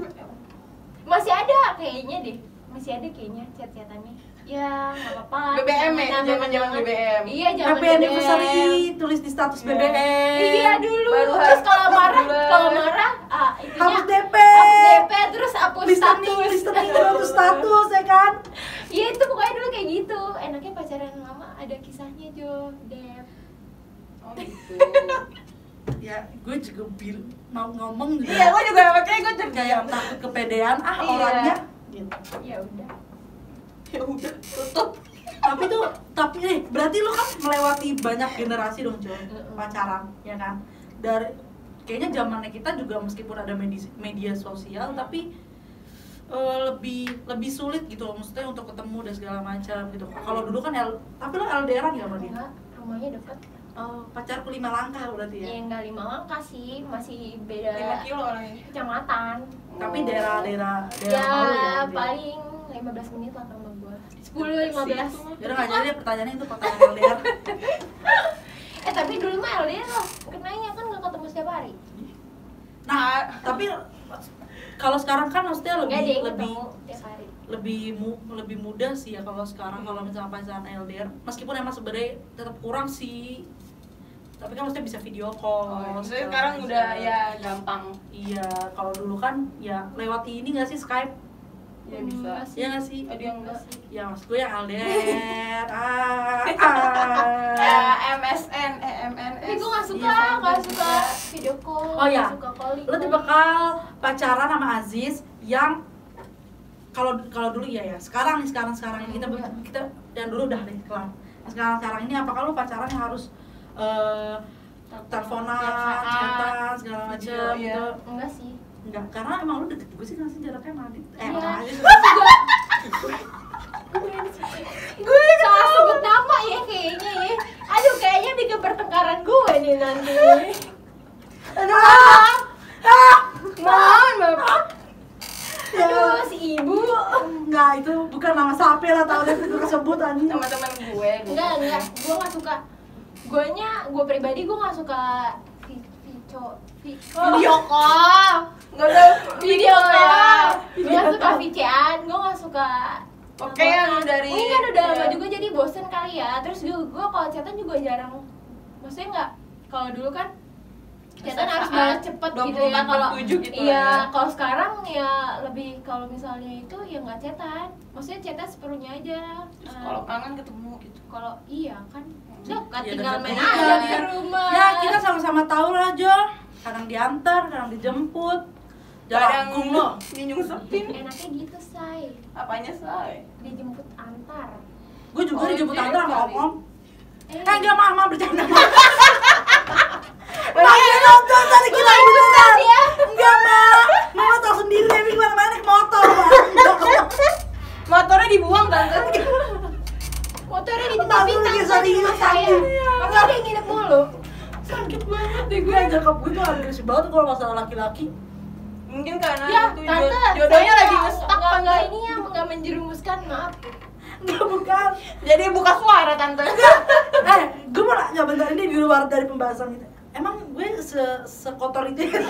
Speaker 1: masih ada kayaknya deh. Masih ada kayaknya chat-chatannya. Ya, enggak apa-apa. lah.
Speaker 3: BBM ya,
Speaker 1: Kenapa
Speaker 3: zaman-zaman
Speaker 1: banget.
Speaker 3: BBM.
Speaker 1: Iya, zaman
Speaker 2: happy anniversary tulis di status
Speaker 3: Iya.
Speaker 2: BBM
Speaker 1: Iya dulu.
Speaker 3: Baru
Speaker 1: terus
Speaker 3: harus
Speaker 1: kalau
Speaker 3: satu
Speaker 1: marah,
Speaker 3: bulan.
Speaker 1: kalau marah, ah, itunya
Speaker 2: hapus DP
Speaker 1: hapus DP terus hapus
Speaker 2: listening
Speaker 1: status.
Speaker 2: listening hapus status ya kan
Speaker 1: Iya, itu pokoknya dulu kayak gitu. Enaknya pacaran lama ada kisahnya, Jo. Dep.
Speaker 3: oh gitu
Speaker 2: ya gue juga bil mau ngomong juga
Speaker 3: iya gua juga makanya gua cerita
Speaker 2: kayak takut kepedean ah
Speaker 3: Iya.
Speaker 2: orangnya gitu.
Speaker 1: Ya udah.
Speaker 3: ya udah tutup
Speaker 2: tapi tuh tapi eh berarti lo kan melewati banyak generasi dong Jon pacaran ya kan dari kayaknya zamannya kita juga meskipun ada medis- media sosial
Speaker 1: Mm.
Speaker 2: tapi eh, lebih lebih sulit gitu loh maksudnya untuk ketemu dan segala macam gitu
Speaker 1: Mm.
Speaker 2: kalau dulu kan L, tapi lo LDR nggak sama dia
Speaker 1: Enggak, rumahnya deket.
Speaker 2: Eh, pacarku lima langkah berarti ya
Speaker 1: Ya enggak lima langkah sih, masih beda.
Speaker 3: lima kilo orangnya
Speaker 1: kecamatan
Speaker 2: tapi daerah-daerah daerah
Speaker 1: ya
Speaker 2: malu ya gitu ya.
Speaker 1: paling 15 menit lah sama gua 10 15
Speaker 2: Yaudah nggak jadi deh pertanyaannya itu pertanyaan LDR
Speaker 1: eh tapi dulu mah LDR lah kenanya kan nggak ketemu setiap hari
Speaker 2: nah tapi kalau sekarang kan maksudnya
Speaker 1: nggak deh
Speaker 2: lebih lebih
Speaker 1: ketemu setiap hari
Speaker 2: lebih mu, lebih mudah sih ya kalau sekarang kalau
Speaker 3: Hmm.
Speaker 2: misalnya pacaran LDR meskipun emang sebenarnya tetap kurang sih tapi kan maksudnya bisa video
Speaker 3: oh,
Speaker 2: call
Speaker 3: maksudnya
Speaker 2: segala
Speaker 3: sekarang
Speaker 2: macam.
Speaker 3: udah ya gampang
Speaker 2: iya kalau dulu kan ya lewat ini nggak sih Skype
Speaker 3: ya
Speaker 1: Hmm,
Speaker 3: bisa
Speaker 1: nggak sih.
Speaker 2: ya nggak sih
Speaker 3: ada yang enggak
Speaker 2: ya maksud gue yang LDR ah, ah.
Speaker 3: Eh, MSN eh MNS
Speaker 1: tapi gua nggak suka
Speaker 3: Iya, sama
Speaker 1: nggak
Speaker 3: gua
Speaker 1: suka
Speaker 3: juga.
Speaker 1: video call
Speaker 2: Oh, iya.
Speaker 1: nggak suka calling
Speaker 2: lo tipe kal pacaran sama Aziz yang kalau kalau dulu iya ya sekarang nih sekarang sekarang ini
Speaker 3: Iya.
Speaker 2: kita kita dan dulu udah deh kelar Nah, sekarang sekarang ini apakah lo pacaran yang harus eh, teleponan,
Speaker 3: Tiap saat.
Speaker 2: chatan segala
Speaker 3: Video,
Speaker 2: macem
Speaker 3: iya.
Speaker 2: gitu.
Speaker 1: enggak sih
Speaker 2: Enggak, karena emang lu deket gue sih nggak sih jaraknya emang di- eh
Speaker 1: Iya.
Speaker 2: makanya
Speaker 1: gue salah sebut nama ya kayaknya ya aduh kayaknya bikin pertengkaran gue nih nanti
Speaker 3: Aduh,
Speaker 2: Iya.
Speaker 3: ah, ah,
Speaker 1: mohon maaf
Speaker 2: Ya.
Speaker 1: aduh si ibu
Speaker 2: enggak itu bukan nama sapi lah tau deh itu kesebut anjing.
Speaker 3: teman-teman gue gitu.
Speaker 1: enggak enggak gue nggak suka gue nya gue pribadi gue nggak suka vi- vico vi- video call
Speaker 3: Enggak ada
Speaker 1: video call gue
Speaker 2: Video
Speaker 1: nggak suka
Speaker 2: call.
Speaker 1: vician gue nggak suka
Speaker 3: Oke, yang dari-
Speaker 1: ini kan udah lama
Speaker 3: iya.
Speaker 1: juga jadi bosen kali ya terus gue gue kalau chatan juga jarang maksudnya nggak kalau dulu kan chatan
Speaker 3: Saat-saat
Speaker 1: harus balas cepet gitu ya
Speaker 3: 24 per
Speaker 1: kalau
Speaker 3: 7 gitu
Speaker 1: iya
Speaker 3: lah ya.
Speaker 1: kalau sekarang ya lebih kalau misalnya itu ya nggak chatan maksudnya chatan seperuhnya aja
Speaker 3: Terus
Speaker 1: Eh,
Speaker 3: kalau kangen ketemu gitu.
Speaker 1: kalau iya kan dekat
Speaker 2: Iya,
Speaker 1: tinggal
Speaker 2: dekat.
Speaker 1: main
Speaker 2: Iya,
Speaker 1: aja di
Speaker 2: iya.
Speaker 1: rumah
Speaker 2: Ya kita sama-sama tahu lah Jo. Kadang diantar, kadang dijemput.
Speaker 3: Jarang
Speaker 2: Jagung lo.
Speaker 3: Dia nyungsepin.
Speaker 1: enaknya gitu say
Speaker 3: Apanya say?
Speaker 1: dijemput antar
Speaker 2: Gue juga
Speaker 3: Oh,
Speaker 2: dijemput
Speaker 3: iya
Speaker 2: antar sama
Speaker 3: kali.
Speaker 2: om.
Speaker 1: eh,
Speaker 2: Eh enggak mah mah bercanda. Lagi nonton tadi
Speaker 1: Iya,
Speaker 2: kita beneran.
Speaker 1: ya.
Speaker 2: Enggak mah. Mama tahu sendiri Devi kemana-mana naik motor. Ma.
Speaker 3: Motornya dibuang tante.
Speaker 1: motornya di
Speaker 2: Malu
Speaker 1: tempat bintang
Speaker 2: lagi,
Speaker 1: tadi
Speaker 2: sorry,
Speaker 1: rumah
Speaker 2: sakit.
Speaker 1: saya
Speaker 2: Iya.
Speaker 1: masa dia nginep mulu
Speaker 2: Sakit banget deh gue. Nyokap gue tuh agresif banget tuh kalau masalah laki-laki.
Speaker 3: Mungkin karena
Speaker 1: ya
Speaker 3: itu
Speaker 1: tante
Speaker 3: jod- jodohnya
Speaker 1: saya
Speaker 3: lagi
Speaker 1: nggak-
Speaker 3: ngestak
Speaker 1: nggak-
Speaker 3: tante.
Speaker 1: nggak ini ya nggak menjerumuskan maaf
Speaker 2: Enggak bukan.
Speaker 3: Jadi buka suara tante.
Speaker 2: Eh, gue mau nanya bentar ini di luar dari pembahasan ini. Emang gue se sekotor itu. ya?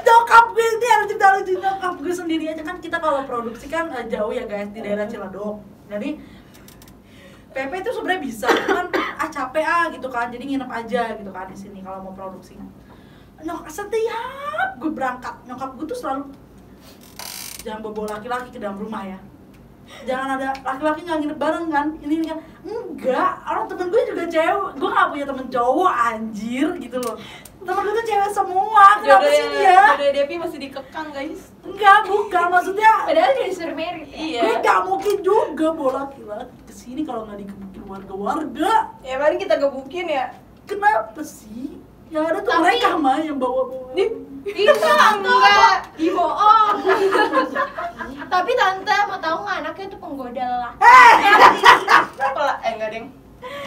Speaker 2: nyokap gue ini harus cerita lucu nyokap gue sendiri aja kan kita kalau produksi kan eh, jauh ya guys di daerah Ciledug. Jadi PP itu sebenarnya bisa kan ah capek ah gitu kan jadi nginep aja gitu kan di sini kalau mau produksinya. Nyok setiap gue berangkat nyokap gue tuh selalu jangan bobo laki-laki ke dalam rumah ya jangan ada laki-laki nggak nginep bareng kan ini ini kan enggak orang temen gue juga cewek gue nggak punya temen cowok anjir gitu loh temen gue tuh cewek semua kenapa
Speaker 3: ya,
Speaker 2: sih dia
Speaker 3: jodohnya Devi masih dikekang guys.
Speaker 2: enggak bukan maksudnya
Speaker 1: padahal dia disuruh merit ya
Speaker 3: Iya.
Speaker 2: gue nggak mungkin juga bola laki-laki kesini kalau nggak dikebukin warga-warga
Speaker 3: Ya paling kita gebukin ya.
Speaker 2: kenapa sih yang ada tuh
Speaker 1: Tapi-
Speaker 2: mereka mah yang bawa-bawa
Speaker 3: Di Iya,
Speaker 1: Bisa, enggak.
Speaker 3: dibohong.
Speaker 1: tapi tante mau tahu nggak anaknya itu penggoda lah
Speaker 3: Kalau eh enggak deng.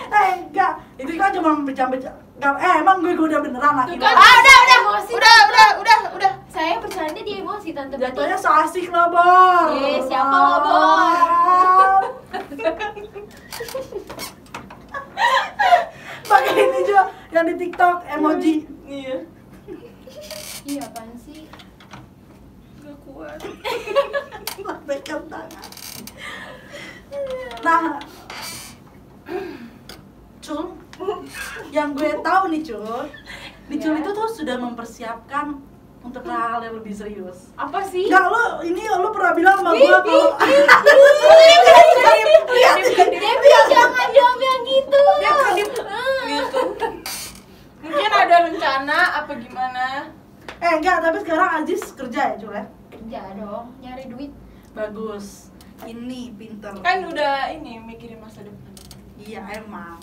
Speaker 2: eh enggak itu kan cuma bercanda-bercanda Nggak- eh emang gue gue udah beneran
Speaker 1: Tuh
Speaker 2: laki-laki
Speaker 1: kan,
Speaker 3: Ah, udah, udah.
Speaker 1: emosi.
Speaker 3: Udah, udah, udah, udah.
Speaker 1: saya bercanda dia emosi tante
Speaker 2: Jatuhnya so asik lo, Bor.
Speaker 1: Iya, siapa lo, Bor?
Speaker 2: Pakai ini juga yang di TikTok emoji.
Speaker 3: Iya.
Speaker 1: iya apaan sih
Speaker 3: Enggak kuat.
Speaker 2: Lambaikan tangan. Nah, Cul, yang gue tahu nih Cul, nih Cul
Speaker 1: Ya.
Speaker 2: itu tuh sudah mempersiapkan untuk hal yang lebih serius.
Speaker 1: apa sih
Speaker 2: Enggak, lo ini lo pernah bilang sama
Speaker 1: Ih,
Speaker 2: gue
Speaker 1: ih,
Speaker 2: kalau
Speaker 1: ih,
Speaker 2: Lihat, lihat, lihat.
Speaker 1: Devi jangan jawab yang gitu
Speaker 3: Dia kedip gitu. Mungkin ada rencana apa gimana?
Speaker 2: Eh enggak, tapi sekarang Aziz kerja ya Cul ya?
Speaker 1: kerja dong nyari duit
Speaker 2: Bagus. Ini pinter.
Speaker 3: Kan udah ini mikirin masa depan.
Speaker 2: Iya emang.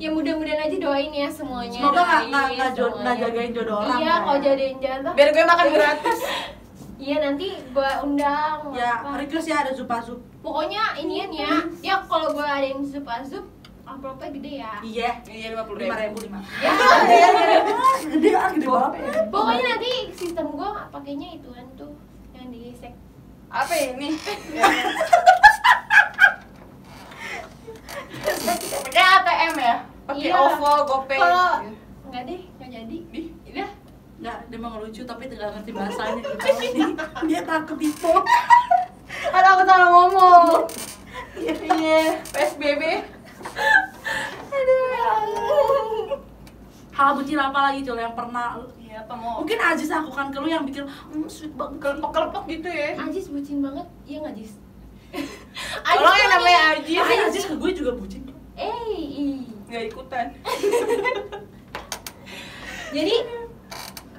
Speaker 1: ya mudah-mudahan aja doain ya semuanya
Speaker 2: Semoga nggak
Speaker 1: doain
Speaker 2: nggak nggak jo-
Speaker 1: semuanya.
Speaker 2: nggak jagain jodoh orang.
Speaker 1: iya
Speaker 2: ya.
Speaker 1: kalau jadiin jatah
Speaker 3: Biar gue makan gratis.
Speaker 1: iya nanti gua undang
Speaker 2: Ya
Speaker 1: apa.
Speaker 2: request ya ada zupa zup.
Speaker 1: pokoknya inian ya ya kalau gua ada yang zup azup amplopnya gede ya
Speaker 2: Iya.
Speaker 3: Iya, 50
Speaker 2: Lima ribu lima.
Speaker 1: ya
Speaker 2: Gede ah gede banget.
Speaker 1: pokoknya nanti sistem gua pakainya ituan tuh yang di sek
Speaker 3: Apa ini? Pakai ATM ya? Pakai
Speaker 1: Iya.
Speaker 3: OVO, GoPay.
Speaker 1: kalau nggak deh nggak jadi
Speaker 3: Ih.
Speaker 1: udah
Speaker 2: Nggak, dia mau ngelucu tapi tidak ngerti bahasanya gitu. dia takut tipu.
Speaker 3: Ada aku salah ngomong. Iya, PSBB.
Speaker 1: aduh ya ampun.
Speaker 2: Hal bucin apa lagi Cul yang pernah
Speaker 3: Iya, apa mau?
Speaker 2: Mungkin Aziz aku kan ke lu yang bikin hmm, sweet banget
Speaker 3: kelepek-kelepek gitu ya.
Speaker 1: Ajis bucin banget iya nggak Ajis
Speaker 3: Kalau yang
Speaker 1: tuh
Speaker 3: namanya
Speaker 1: nih.
Speaker 3: Ajis,
Speaker 2: Makanya Iya, Aziz ke gue juga bucin
Speaker 1: eh ih.
Speaker 3: nggak ikutan.
Speaker 1: jadi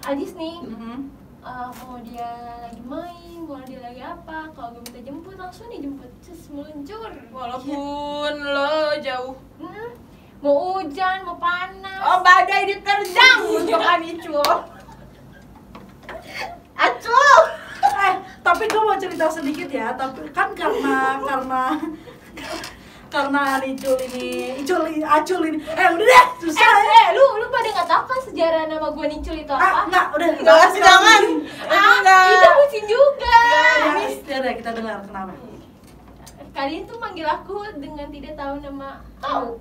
Speaker 1: Ajis nih
Speaker 2: Mhm.
Speaker 1: Eh, mau dia lagi main, mau dia lagi apa, kalau gue minta jemput langsung dijemput, cus meluncur.
Speaker 3: Walaupun lo jauh.
Speaker 1: Hmm, mau hujan mau panas Eh,
Speaker 3: Oh badai diterjang untuk Anicu. Acuh.
Speaker 2: eh tapi gue mau cerita sedikit ya tapi kan karena karena karena Icul ini Icul ini Acul ini eh udah deh susah
Speaker 1: eh,
Speaker 2: ya
Speaker 1: eh, lu lu pada nggak tahu kan sejarah nama gue Nicul itu
Speaker 2: ah
Speaker 1: apa?
Speaker 2: enggak udah
Speaker 3: Enggak kasih tangan.
Speaker 1: Ah, itu pusing juga.
Speaker 2: Ini udah Ya, kita dengar kenapa
Speaker 1: Kalian tuh manggil aku dengan tidak tahu nama tahu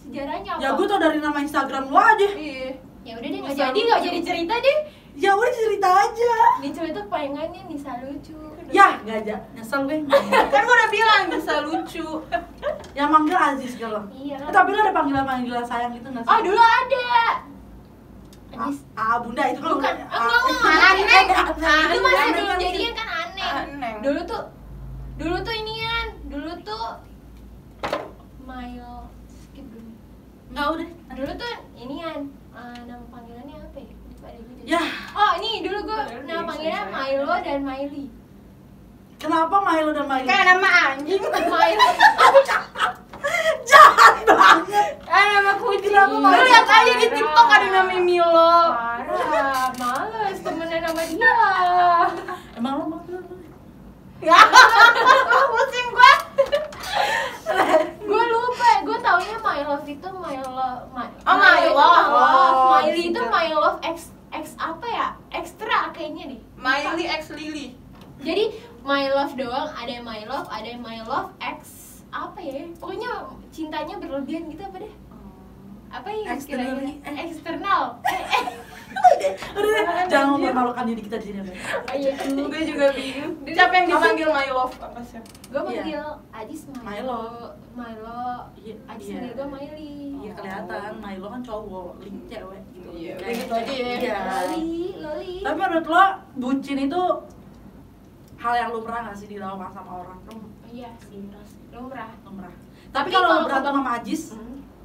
Speaker 1: sejarahnya apa?
Speaker 2: ya gue tau dari nama Instagram lo aja
Speaker 1: Iya. Ya udah deh nggak
Speaker 3: Nisa
Speaker 1: jadi nggak jadi cerita deh.
Speaker 2: ya udah cerita aja
Speaker 1: Nicul itu palingannya Nisa lucu.
Speaker 2: ya nggak aja nyesel gue
Speaker 3: Kan gua udah bilang bisa lucu.
Speaker 2: yang Ya, manggil Aziz kalau
Speaker 1: Iya.
Speaker 2: eh, tapi lo ada panggilan panggilan sayang gitu nggak sih
Speaker 1: Oh dulu ada.
Speaker 2: ah,
Speaker 1: Anis.
Speaker 2: ah, bunda itu kan
Speaker 1: Bukan,
Speaker 2: udah-
Speaker 1: enggak, enggak, aneh.
Speaker 2: Ah, aneh.
Speaker 1: Itu masih
Speaker 3: Aneh,
Speaker 1: belum
Speaker 3: kan
Speaker 2: eh,
Speaker 3: sih.
Speaker 1: jadian kan aneh.
Speaker 3: Aneh.
Speaker 1: Dulu tuh dulu tuh inian, dulu tuh Mayo skip dulu. Nah,
Speaker 2: nggak udah
Speaker 1: dulu tuh inian eh, nama panggilannya apa ya? Lupa deh gua jadi-
Speaker 2: ya
Speaker 1: Oh ini dulu gue
Speaker 3: Padahal
Speaker 1: nama
Speaker 3: dia
Speaker 1: panggilannya
Speaker 3: bisa saya.
Speaker 1: Milo dan Miley.
Speaker 2: kenapa Milo dan Milo
Speaker 3: Kayak nama anjing.
Speaker 1: Milo.
Speaker 2: jahat banget
Speaker 3: Kayak nama kucing.
Speaker 2: Kenapa
Speaker 3: Lu
Speaker 2: malah
Speaker 3: lihat aja di
Speaker 1: parah.
Speaker 3: TikTok ada namanya Milo.
Speaker 2: Ah,
Speaker 1: Parah, males temenan sama dia.
Speaker 2: emang lo mau tuh
Speaker 3: Ya. Pusing gua.
Speaker 1: Gue lupa, gue taunya My Love itu My Love. My,
Speaker 3: Oh, My
Speaker 1: itu
Speaker 3: Love.
Speaker 1: My Love.
Speaker 2: Oh,
Speaker 1: Miley itu
Speaker 2: gitu.
Speaker 1: My Love X X apa ya? Extra kayaknya deh.
Speaker 3: Miley X Lily.
Speaker 1: Jadi My Love doang, ada yang My Love, ada yang My Love X apa ya? Pokoknya cintanya berlebihan gitu apa deh? Apa ya
Speaker 2: External.
Speaker 1: kira-kira? Eksternal.
Speaker 2: udah deh jangan mempermalukan diri kita di sini Bel.
Speaker 1: Oh iya.
Speaker 3: Gue juga bingung. Siapa yang dipanggil My Love apa siapa?
Speaker 1: Gue manggil Ajis
Speaker 2: Milo.
Speaker 1: Milo, Milo,
Speaker 2: Iya,
Speaker 1: Ajis
Speaker 2: iya.
Speaker 1: Milo, Miley.
Speaker 2: Iya kelihatan, Milo kan cowok, link cewek gitu.
Speaker 3: Iya,
Speaker 2: Kayak-
Speaker 3: udah gitu aja ya.
Speaker 2: Iya.
Speaker 1: Loli, Loli.
Speaker 2: Tapi menurut lo, bucin itu hal yang lu pernah gak sih dilakukan sama orang? Lu
Speaker 1: Iya sih, Ros. lumrah.
Speaker 2: lu pernah. Tapi
Speaker 1: Tapi
Speaker 2: kalau Hmm. lu
Speaker 1: kalau-
Speaker 2: berantem sama Ajis,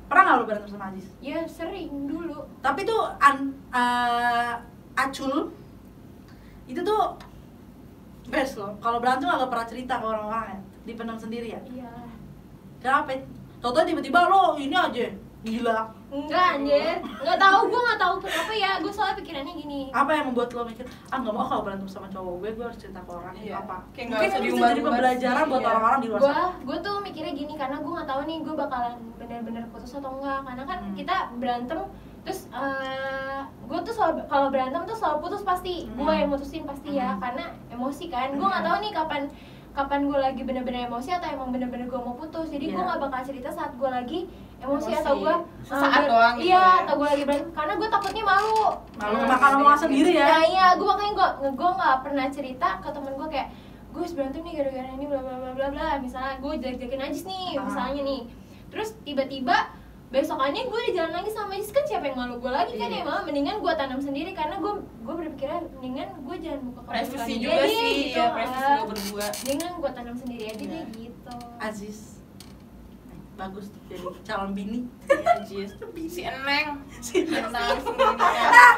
Speaker 2: pernah gak lu berantem sama Ajis?
Speaker 1: Ya sering dulu.
Speaker 2: Tapi tuh an, eh, acul itu tuh best loh. Kalau berantem agak pernah cerita ke orang-orang ya, dipendam sendiri ya.
Speaker 1: Iya.
Speaker 2: Kenapa? Contohnya tiba-tiba lo ini aja gila.
Speaker 1: Enggak anjir, enggak tahu gue enggak tahu kenapa ya. Gue soalnya pikirannya gini.
Speaker 2: apa yang membuat lo mikir ah nggak mau kalau berantem sama cowok gue gue harus cerita ke orang
Speaker 3: Iya.
Speaker 2: apa
Speaker 3: Kayak nggak
Speaker 2: mungkin ini
Speaker 3: usah
Speaker 2: bisa
Speaker 3: diumbar-umbar
Speaker 2: jadi pembelajaran
Speaker 3: sih,
Speaker 2: buat
Speaker 3: iya.
Speaker 2: orang-orang di luar
Speaker 1: gue
Speaker 2: sana
Speaker 1: gue tuh mikirnya gini karena gue nggak tahu nih gue bakalan bener-bener putus atau enggak karena kan
Speaker 2: Hmm.
Speaker 1: kita berantem terus gue tuh selalu kalau berantem tuh selalu putus pasti
Speaker 2: Hmm.
Speaker 1: gue yang mutusin pasti ya
Speaker 2: Hmm.
Speaker 1: karena emosi kan gue nggak
Speaker 2: Hmm.
Speaker 1: tahu nih kapan kapan gue lagi bener-bener emosi atau emang bener-bener gue mau putus jadi gue
Speaker 2: Iya.
Speaker 1: nggak bakal cerita saat gue lagi emosi,
Speaker 3: Emosi.
Speaker 1: atau gue
Speaker 3: Sesaat doang gitu
Speaker 1: iya
Speaker 3: ya.
Speaker 1: atau gue lagi berantem karena gue takutnya malu Hmm.
Speaker 2: malu
Speaker 3: Iya,
Speaker 2: makan
Speaker 3: iya,
Speaker 2: omongan
Speaker 3: iya.
Speaker 2: sendiri ya
Speaker 1: Nah iya, gue makanya gue gue nggak pernah cerita ke temen gue kayak gue harus berantem nih gara-gara ini bla bla bla bla bla. Misalnya gue jelek-jelekin Ajis nih,
Speaker 2: Ah.
Speaker 1: misalnya nih. Terus tiba-tiba besokannya gue di jalan lagi sama Ajis kan siapa yang malu gue lagi kan ya
Speaker 2: Iya.
Speaker 1: mama mendingan gue tanam sendiri karena gue gue berpikirnya mendingan gue jangan buka
Speaker 3: Privasi juga sih, ya privasi lo berdua.
Speaker 1: gitu. Ah. Mendingan gue tanam sendiri aja
Speaker 3: Iya.
Speaker 1: deh gitu.
Speaker 2: Aziz bagus tuh jadi calon bini
Speaker 3: Najis si Eneng
Speaker 2: Si
Speaker 3: yang tahu sendiri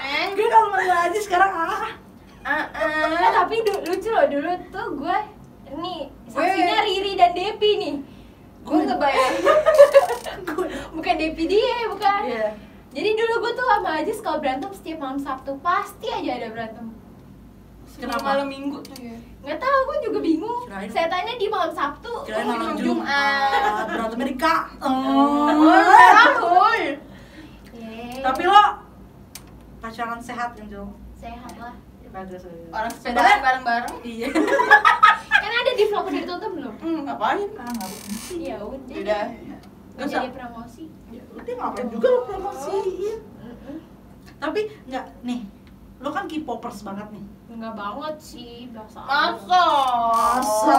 Speaker 3: Eneng
Speaker 2: gue Eh, kalau manggil Aziz sekarang ah
Speaker 3: ah
Speaker 1: Eh,
Speaker 3: ah.
Speaker 1: tapi du- lucu loh dulu tuh gue nih
Speaker 3: Gue-
Speaker 1: saksinya Riri dan Depi nih.
Speaker 3: gue
Speaker 2: Iya.
Speaker 3: ngebayangin
Speaker 1: Bukan Depi dia, bukan.
Speaker 2: iya
Speaker 1: Jadi dulu gue tuh sama Ajis kalau berantem setiap malam Sabtu pasti aja ada berantem.
Speaker 3: kenapa
Speaker 2: Kenapa?
Speaker 3: malam minggu tuh ya
Speaker 1: Nggak tahu gue juga bingung.
Speaker 2: Kirain-
Speaker 1: Saya tanya di malam Sabtu.
Speaker 2: kirain malam
Speaker 3: malam Jumat. Oh. iya.
Speaker 2: Jumat berantemnya di kak
Speaker 1: Rahul. Yeay.
Speaker 2: tapi lo pacaran sehat kan Jo?
Speaker 1: sehat lah.
Speaker 2: Ya, bagus bagus.
Speaker 3: orang sepeda bareng bareng
Speaker 2: iya
Speaker 1: Kan ada di vlog udah ditonton belum?
Speaker 3: hmm, Iya, ngapain
Speaker 2: ah nggak
Speaker 1: Ya udah.
Speaker 3: udah
Speaker 1: Nggak jadi promosi.
Speaker 2: Ya udah ngapain juga lo promosiin
Speaker 1: Mm-mm.
Speaker 2: tapi nggak nih lo kan K-popers banget nih
Speaker 1: Nggak banget sih biasa. aja.
Speaker 3: masa
Speaker 2: Oh.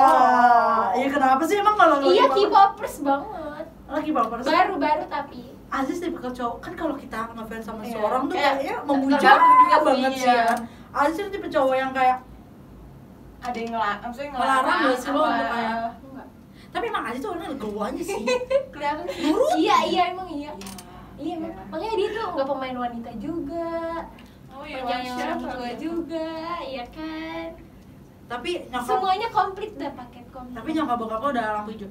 Speaker 2: ya kenapa sih emang kalau lo
Speaker 1: Iya
Speaker 2: K-popers-
Speaker 1: K-popers banget.
Speaker 2: lo K-popers
Speaker 1: Baru-baru tapi.
Speaker 2: Aziz tipikal cowok kan kalau kita ngefans sama
Speaker 3: Iya.
Speaker 2: seorang tuh
Speaker 3: Kayak
Speaker 2: kayaknya memuja
Speaker 3: tergantung juga sih,
Speaker 2: banget sih ya
Speaker 3: iya.
Speaker 2: Aziz tuh tipe cowok yang kayak
Speaker 3: ada yang ngelarang maksudnya
Speaker 2: Ngelarang nggak sih lo
Speaker 3: apa? Iya.
Speaker 2: untuk kayak-
Speaker 1: Enggak.
Speaker 2: tapi emang Aziz tuh orangnya legowo aja sih
Speaker 3: kelihatan sih
Speaker 1: Iya iya emang iya. Iya, emang.
Speaker 3: Iya.
Speaker 1: makanya dia tuh nggak pemain wanita juga,
Speaker 3: oh iya
Speaker 1: pemain orang
Speaker 3: siapa
Speaker 1: tua
Speaker 3: gitu.
Speaker 1: juga, iya kan?
Speaker 2: tapi nyokap
Speaker 1: Semuanya komplit dah paket komplit.
Speaker 2: tapi nyokap bokap lo udah lampu hijau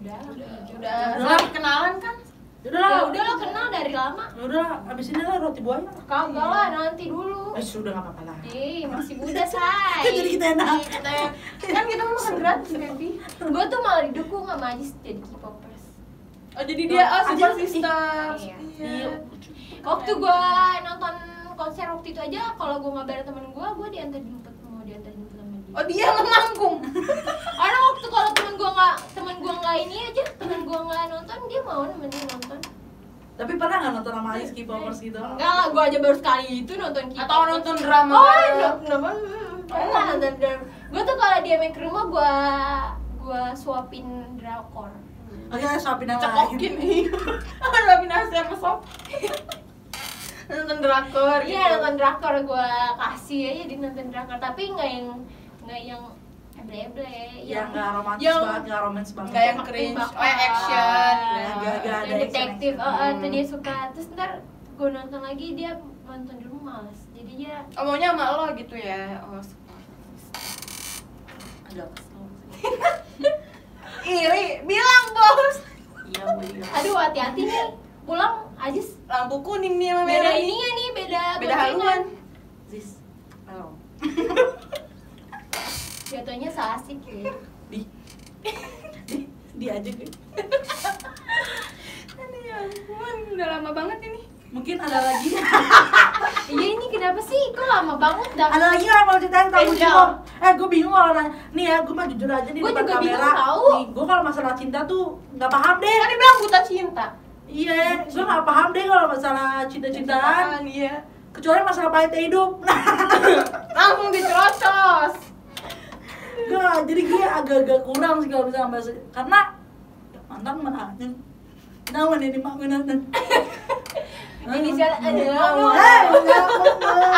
Speaker 1: udah,
Speaker 3: udah
Speaker 1: udah.
Speaker 3: udah kenalan kan
Speaker 2: udah lah
Speaker 1: Ya udah lo kenal dari lama.
Speaker 2: udah lah abis Ya ini lah roti buaya
Speaker 1: Kagak lah
Speaker 2: Iya.
Speaker 1: nanti dulu.
Speaker 2: eh sudah nggak apa-apa lah Kan
Speaker 1: Ih, masih muda, say.
Speaker 2: jadi gitu. kita
Speaker 1: Iya.
Speaker 2: enak
Speaker 3: kita yang kan kita mau makan gratis baby
Speaker 1: Gue tuh malah didukung sama Ajis jadi K-popers.
Speaker 3: oh jadi dia oh
Speaker 2: Aja
Speaker 3: super
Speaker 2: sih.
Speaker 3: sistem
Speaker 1: Iya.
Speaker 2: Iya.
Speaker 1: Waktu gue nonton konser waktu itu aja, kalau gue mabar temen gue, gue diantar jemput mau diantar jemput sama dia.
Speaker 3: oh dia ngelangkung
Speaker 1: Orang waktu kalau temen gue nggak temen gue nggak ini aja, temen gue nggak nonton, dia mau nemenin nonton.
Speaker 2: tapi pernah nggak nonton sama Alis K-popers gitu
Speaker 1: Enggak lah, gue aja baru sekali itu nonton K-pop.
Speaker 3: atau nonton drama
Speaker 1: Oh,
Speaker 3: bareng. Oh,
Speaker 1: no- drama. Pernah nonton drama. Gue tuh kalau dia main ke rumah, gue gue suapin drakor.
Speaker 2: oke ya, suapin yang Iya,
Speaker 3: cekokin nih Robin Asia mesop nonton drakor gitu.
Speaker 1: Iya nonton drakor gue kasih aja di nonton drakor tapi nggak yang nggak yang eble-eble
Speaker 2: yang nggak romantis
Speaker 1: yang-
Speaker 2: banget nggak romans banget
Speaker 3: Nggak Ya, yang
Speaker 1: Makin
Speaker 3: cringe
Speaker 1: bakal.
Speaker 3: oh yang action
Speaker 2: Yang nggak- nggak ada
Speaker 1: yang detektif
Speaker 2: action.
Speaker 1: oh, oh, tuh
Speaker 3: Hmm.
Speaker 1: dia suka terus ntar gue nonton lagi dia nonton di rumah males jadi dia
Speaker 3: oh maunya sama lo gitu ya oh support.
Speaker 2: agak kesel
Speaker 3: iri bilang bos
Speaker 2: iya iya
Speaker 1: aduh hati-hati nih pulang aja
Speaker 3: lampu kuning nih sama
Speaker 1: beda
Speaker 3: merah ini
Speaker 1: ininya nih beda
Speaker 3: beda
Speaker 1: goncengan.
Speaker 3: haluan
Speaker 2: Zis halo
Speaker 1: jatuhnya salah asik ya
Speaker 2: di di di aja gue
Speaker 3: Aduh, ya ampun udah lama banget ini
Speaker 2: mungkin ada lagi
Speaker 1: iya ini kenapa sih kok lama banget dah
Speaker 2: ada lagi orang mau ceritain tentang
Speaker 1: Eh,
Speaker 2: bucin
Speaker 1: Del.
Speaker 2: lo eh gue bingung kalau nanya nih ya gue mah jujur aja nih
Speaker 1: Gua
Speaker 2: depan
Speaker 1: juga bingung
Speaker 2: kamera
Speaker 1: tahu.
Speaker 2: nih gue kalau masalah cinta tuh nggak paham deh
Speaker 3: kan dia bilang buta cinta
Speaker 2: iya gue nggak paham deh kalau masalah cinta-cintaan
Speaker 3: iya
Speaker 2: kecuali masalah pahitnya hidup nah
Speaker 3: langsung dicerocos
Speaker 2: gue jadi gue agak-agak kurang sih kalau misalnya bahasa karena ya, mantan menanya nawan ini mah menanya
Speaker 1: inisial
Speaker 2: Eh,
Speaker 1: adalah
Speaker 2: enggak, enggak.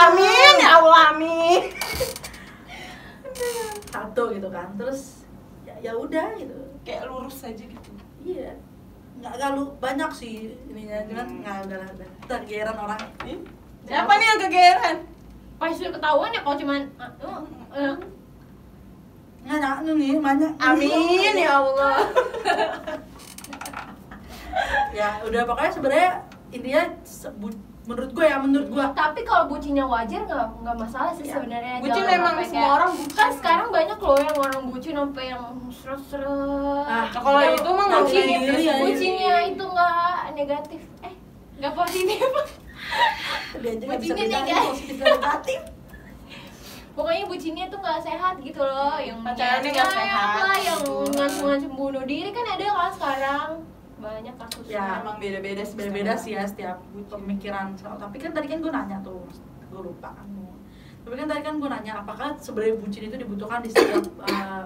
Speaker 3: amin ya allah amin
Speaker 2: satu gitu kan terus ya, ya udah gitu
Speaker 3: kayak lurus aja gitu
Speaker 2: iya nggak nggak lu banyak sih ininya cuman
Speaker 3: Hmm.
Speaker 2: nggak udah lah udah tergeran orang
Speaker 3: Ih, siapa nih yang kegeran
Speaker 1: pas udah ketahuan ya kalau cuman ah, eh, eh.
Speaker 2: nggak nggak nu nih banyak
Speaker 3: amin ya allah
Speaker 2: ya udah pokoknya sebenarnya intinya se- bu- menurut gue ya menurut gue
Speaker 1: eh, tapi kalau bucinnya wajar nggak nggak masalah sih
Speaker 2: Iya.
Speaker 1: sebenarnya
Speaker 3: Bucin
Speaker 1: Jangan
Speaker 3: emang
Speaker 1: sampai
Speaker 3: semua
Speaker 1: kayak-
Speaker 3: orang bucin.
Speaker 1: kan sekarang banyak loh yang orang bucin sampai yang seret seret
Speaker 2: Ah,
Speaker 3: Nah, kalau itu mah nggak
Speaker 1: bucin
Speaker 3: kayak gitu
Speaker 2: ya.
Speaker 1: bucinnya itu nggak negatif eh nggak positif
Speaker 2: dia aja nggak bisa
Speaker 1: Bucinnya
Speaker 2: bedain
Speaker 1: negatif.
Speaker 2: positif dan negatif
Speaker 1: pokoknya bucinnya tuh nggak sehat gitu loh yang
Speaker 3: Pacarannya nggak
Speaker 1: nyayat
Speaker 3: sehat.
Speaker 1: lah, yang ngancem-ngancem bunuh diri kan ada kan sekarang banyak kasus
Speaker 2: Ya.
Speaker 3: emang beda-beda sih
Speaker 2: beda-beda sih ya setiap pemikiran soal tapi kan tadi kan gue nanya tuh gue lupa kan tapi kan tadi kan gue nanya apakah sebenarnya bucin itu dibutuhkan di setiap eh,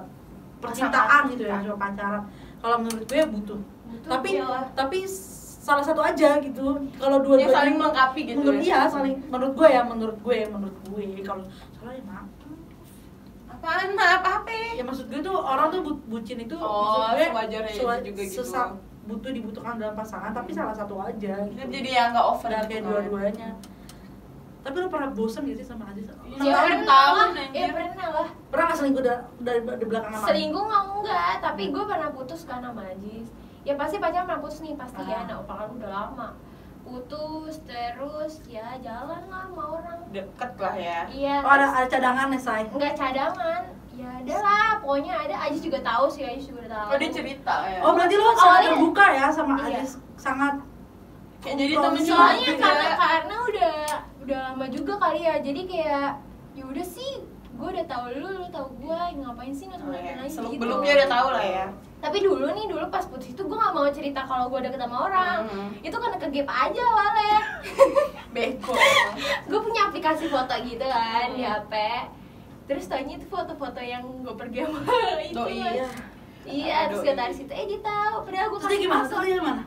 Speaker 2: percintaan gitu ya cuma pacaran kalau menurut gue butuh
Speaker 1: Butuh,
Speaker 2: tapi
Speaker 1: iyalah.
Speaker 2: tapi salah satu aja gitu kalau dua
Speaker 3: Yang saling melengkapi gitu
Speaker 2: menurut
Speaker 3: ya.
Speaker 2: iya saling menurut gue ya menurut gue menurut gue kalau salah ya maaf
Speaker 3: apaan maaf apa
Speaker 2: ya maksud gue tuh orang tuh bu- bucin itu
Speaker 3: Oh,
Speaker 2: maksud gue
Speaker 3: sewajarnya ya,
Speaker 2: sewa-
Speaker 3: juga gitu.
Speaker 2: sesa- butuh dibutuhkan dalam pasangan tapi salah satu aja gitu.
Speaker 3: Kita Kan jadi yang nggak over
Speaker 2: Padahal
Speaker 3: gitu
Speaker 2: kayak
Speaker 3: kan.
Speaker 2: dua-duanya tapi lu pernah bosen gak sih sama Aziz?
Speaker 3: Iya,
Speaker 1: ya
Speaker 3: Enam
Speaker 1: pernah
Speaker 3: tahun,
Speaker 1: lah
Speaker 3: anjir.
Speaker 1: ya pernah lah
Speaker 2: Pernah gak selingkuh da- dari di belakang sama
Speaker 1: selingkuh nggak enggak tapi gue pernah putus kan sama Ajis ya pasti pacaran pernah putus nih pasti ya
Speaker 2: Ah.
Speaker 1: nah pacaran udah lama putus terus ya jalan lah sama orang
Speaker 3: deket lah ya
Speaker 1: iya
Speaker 2: Oh ada, ada cadangannya, Say
Speaker 3: Iya.
Speaker 1: nggak cadangan ya ada lah pokoknya ada Ajis juga tahu sih Ajis juga tahu
Speaker 3: oh dia cerita ya
Speaker 2: Oh berarti lu sangat
Speaker 1: Awalnya-
Speaker 2: terbuka ya sama
Speaker 1: Iya.
Speaker 2: Aziz Sangat
Speaker 3: kayak jadi Iya, temen
Speaker 2: Soalnya
Speaker 3: curhat
Speaker 1: soalnya kan
Speaker 3: juga.
Speaker 1: karena karena udah udah lama juga kali ya jadi kayak ya udah sih gue udah tahu lu lu tahu gue ngapain sih nonton
Speaker 3: Oh, ya.
Speaker 1: lagi
Speaker 3: seluk
Speaker 1: gitu
Speaker 3: beluknya udah tau lah ya
Speaker 1: tapi dulu nih dulu pas putus itu gue nggak mau cerita kalau gue deket sama orang
Speaker 3: Hmm.
Speaker 1: itu karena kegep aja awalnya
Speaker 3: beko
Speaker 1: gue punya aplikasi foto gitu kan di
Speaker 3: Hmm.
Speaker 1: hp terus tanya itu foto-foto yang gue pergi sama itu
Speaker 3: Doi,
Speaker 1: Mas.
Speaker 3: iya.
Speaker 1: iya
Speaker 3: Doi.
Speaker 1: terus kata dari situ eh dia tahu padahal gue
Speaker 2: Terus dia gimana? Terus dia gimana?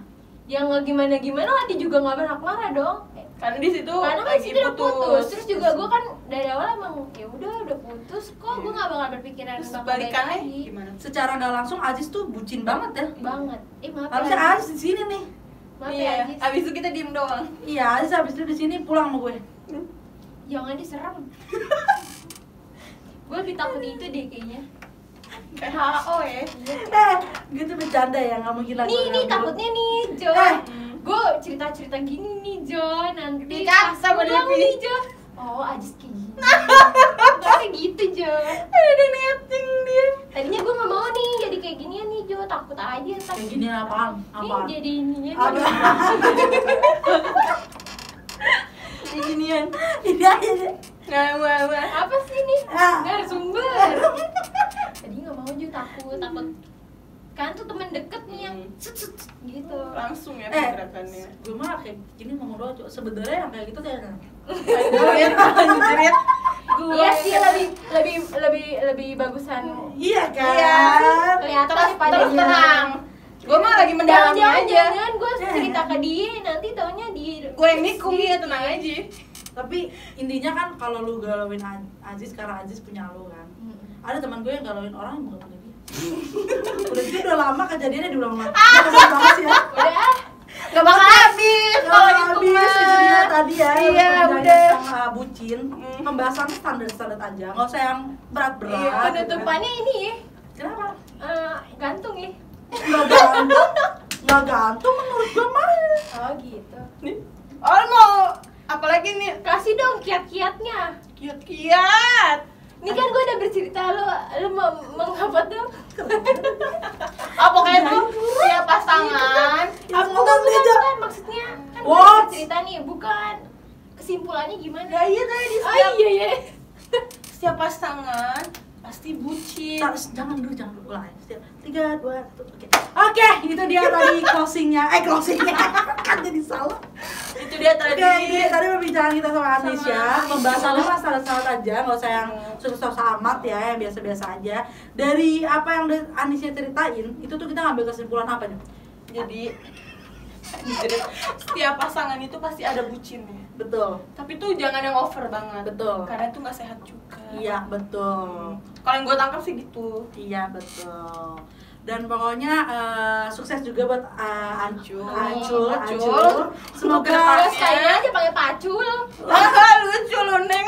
Speaker 1: yang nggak gimana gimana lah dia juga nggak berhak marah dong
Speaker 3: karena di situ
Speaker 1: karena kan
Speaker 3: Eh, lagi
Speaker 1: situ udah putus terus juga gue
Speaker 3: Terus- Iya.
Speaker 1: kan dari awal emang ya udah udah putus kok gue nggak bakal berpikiran
Speaker 3: terus
Speaker 1: bakal balik
Speaker 3: balikannya
Speaker 1: lagi."
Speaker 3: gimana
Speaker 2: Secara gak langsung Aziz tuh bucin banget ya
Speaker 1: banget eh maaf
Speaker 2: Harusnya
Speaker 1: ya
Speaker 2: Aziz di sini nih
Speaker 1: maaf ya
Speaker 3: iya
Speaker 1: Ajis.
Speaker 3: abis itu kita diem doang
Speaker 2: Iya Aziz habis itu di sini pulang sama gue
Speaker 1: jangan diserem gue lebih takut itu deh kayaknya
Speaker 3: kayak HO ya
Speaker 2: Eh gitu bercanda ya gak mungkin lah
Speaker 1: nih
Speaker 2: gue
Speaker 1: nih
Speaker 2: ngambil.
Speaker 1: takutnya nih Jo
Speaker 2: Eh,
Speaker 1: gue cerita cerita gini nih Jo nanti
Speaker 3: Dikat
Speaker 1: pas
Speaker 3: sama
Speaker 1: pulang
Speaker 3: Devi.
Speaker 1: nih Jo oh Ajis kayak gini kayak gitu Jo
Speaker 3: ada netting dia
Speaker 1: tadinya gue nggak mau nih jadi kayak gini nih Jo takut aja
Speaker 2: Kayak gini apaan?
Speaker 1: ini
Speaker 2: Apaan?
Speaker 1: jadi ininya
Speaker 2: Apa?
Speaker 1: Jo.
Speaker 3: kayak ginian
Speaker 2: Ini aja deh.
Speaker 3: nggak nggak nggak
Speaker 1: apa sih nih
Speaker 2: Ah.
Speaker 1: narasumber tadi nggak mau juga takut takut kan tuh temen deket nih yang sut, sut, sut,
Speaker 2: Hmm.
Speaker 1: gitu
Speaker 3: Hmm. langsung ya
Speaker 2: Eh,
Speaker 3: pergerakannya
Speaker 2: gue mah kayak gini mau ngobrol aja. Sebenarnya yang kayak gitu kayak
Speaker 3: Lanjutin, lanjutin.
Speaker 1: iya sih lebih lebih lebih lebih bagusan
Speaker 2: Iya kan?
Speaker 3: Iya.
Speaker 1: Kelihatan
Speaker 3: Terus-
Speaker 1: sih padanya.
Speaker 3: terus terang gue mah lagi
Speaker 1: jangan
Speaker 3: mendalami
Speaker 1: jangan
Speaker 3: aja
Speaker 1: jangan gue cerita ke dia nanti taunya di Iya.
Speaker 3: gue yang nikung dia tenang aja
Speaker 2: Tapi intinya kan kalau lu galauin A- Aziz karena Aziz punya lu kan. Ada teman gue yang galauin orang yang bukan punya dia. udah gitu udah lama kejadiannya diulang-ulang. Gue kesel banget sih ya.
Speaker 1: udah ah.
Speaker 3: gak bakal habis kalau
Speaker 2: Kalau
Speaker 3: gitu
Speaker 2: habis jadinya
Speaker 3: mah
Speaker 2: tadi ya
Speaker 3: Iya,
Speaker 2: perbedaannya
Speaker 3: udah.
Speaker 2: sama bucin
Speaker 3: Mm.
Speaker 2: pembahasan standar-standar aja nggak usah yang berat-berat
Speaker 3: Iya,
Speaker 2: gitu kan.
Speaker 1: penutupannya ini ya
Speaker 2: kenapa
Speaker 1: eh, gantung ya
Speaker 2: nggak gantung nggak gantung menurut gue mah
Speaker 1: oh gitu
Speaker 3: Nih. oh lu mau apalagi nih
Speaker 1: kasih dong kiat-kiatnya
Speaker 3: kiat-kiat
Speaker 1: ini kan gue udah bercerita lo lo mau mengapa tuh
Speaker 3: oh pokoknya tuh punya pasangan
Speaker 2: yang
Speaker 1: Bukan,
Speaker 2: ngomong
Speaker 1: bukan,
Speaker 2: aja
Speaker 1: bukan. maksudnya kan
Speaker 2: What?
Speaker 1: gua ada cerita nih bukan kesimpulannya gimana
Speaker 3: ya iya tadi
Speaker 1: oh
Speaker 3: setiap,
Speaker 1: iya ya
Speaker 3: setiap pasangan pasti bucin
Speaker 2: Tar, jangan dulu jangan dulu ulang aja. Setiap- tiga dua satu oke oke itu dia tadi closingnya eh closingnya kan jadi salah
Speaker 3: itu dia
Speaker 2: oke
Speaker 3: tadi
Speaker 2: itu dia tadi perbincangan kita sama Anis
Speaker 3: Sama
Speaker 2: ya
Speaker 3: Anis.
Speaker 2: pembahasannya mah standar-standar aja nggak usah yang susah-susah amat ya yang biasa-biasa aja dari apa yang udah Anisnya ceritain itu tuh kita ngambil kesimpulan apa nih
Speaker 3: jadi jadi setiap pasangan itu pasti ada bucinnya
Speaker 2: betul
Speaker 3: tapi tuh jangan yang over banget
Speaker 2: Betul.
Speaker 3: karena itu nggak sehat juga
Speaker 2: iya betul
Speaker 3: kalau yang gue tangkap sih gitu
Speaker 2: Iya betul. Dan pokoknya eh, sukses juga buat eh, Ancul, Ancul,
Speaker 3: Ancul.
Speaker 2: Ancul. Semoga
Speaker 1: terus kayaknya aja pakai pacul
Speaker 3: lucu lu neng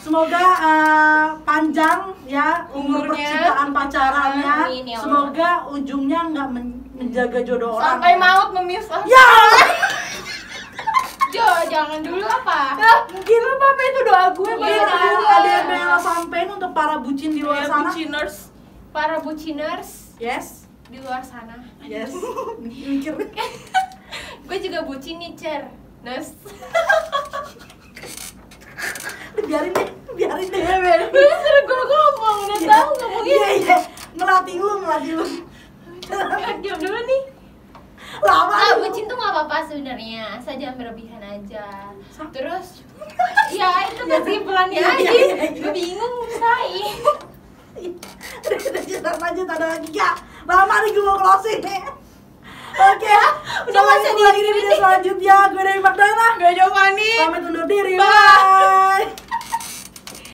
Speaker 2: Semoga eh, panjang ya umur
Speaker 3: Umurnya.
Speaker 2: percintaan pacarannya.
Speaker 1: Amin, ya Allah.
Speaker 2: Semoga ujungnya nggak men- menjaga jodoh orang.
Speaker 3: sampai maut memisah
Speaker 2: Ya,
Speaker 1: Jo jangan dulu apa
Speaker 2: mungkin apa itu doa Nah, gue
Speaker 1: Iya,
Speaker 2: Bella.
Speaker 1: doa.
Speaker 2: Ada yang Bella sampein untuk para Iya, bucin di luar
Speaker 3: Ya,
Speaker 2: sana.
Speaker 3: buciners
Speaker 1: para buciners
Speaker 2: Yes,
Speaker 1: di luar sana
Speaker 2: yes. Mikir.
Speaker 1: gue juga bucin nih cer Nes
Speaker 2: biarin deh, biarin deh.
Speaker 1: Ih, seru gue gue mau nggak Iya, tahu ngomongin
Speaker 2: Iya iya, ngelatih lu, ngelatih lu.
Speaker 1: Ya, diam dulu nih
Speaker 2: Lama.
Speaker 1: ah
Speaker 2: lu.
Speaker 1: bucin tuh nggak apa-apa sebenarnya saya jangan berlebihan aja
Speaker 2: Sa-
Speaker 1: terus ya itu kesimpulannya
Speaker 2: Iya, iya,
Speaker 1: aja
Speaker 2: iya, iya.
Speaker 1: gue bingung say
Speaker 2: Udah udah, jangan lanjut ada lagi gak? Lama nih gue mau closing nih. Oke, udah
Speaker 1: nggak usah
Speaker 2: lanjut lagi di video selanjutnya. Gue dari Magdalena.
Speaker 3: gak Giovanni
Speaker 2: Pamit undur diri.
Speaker 3: Bye.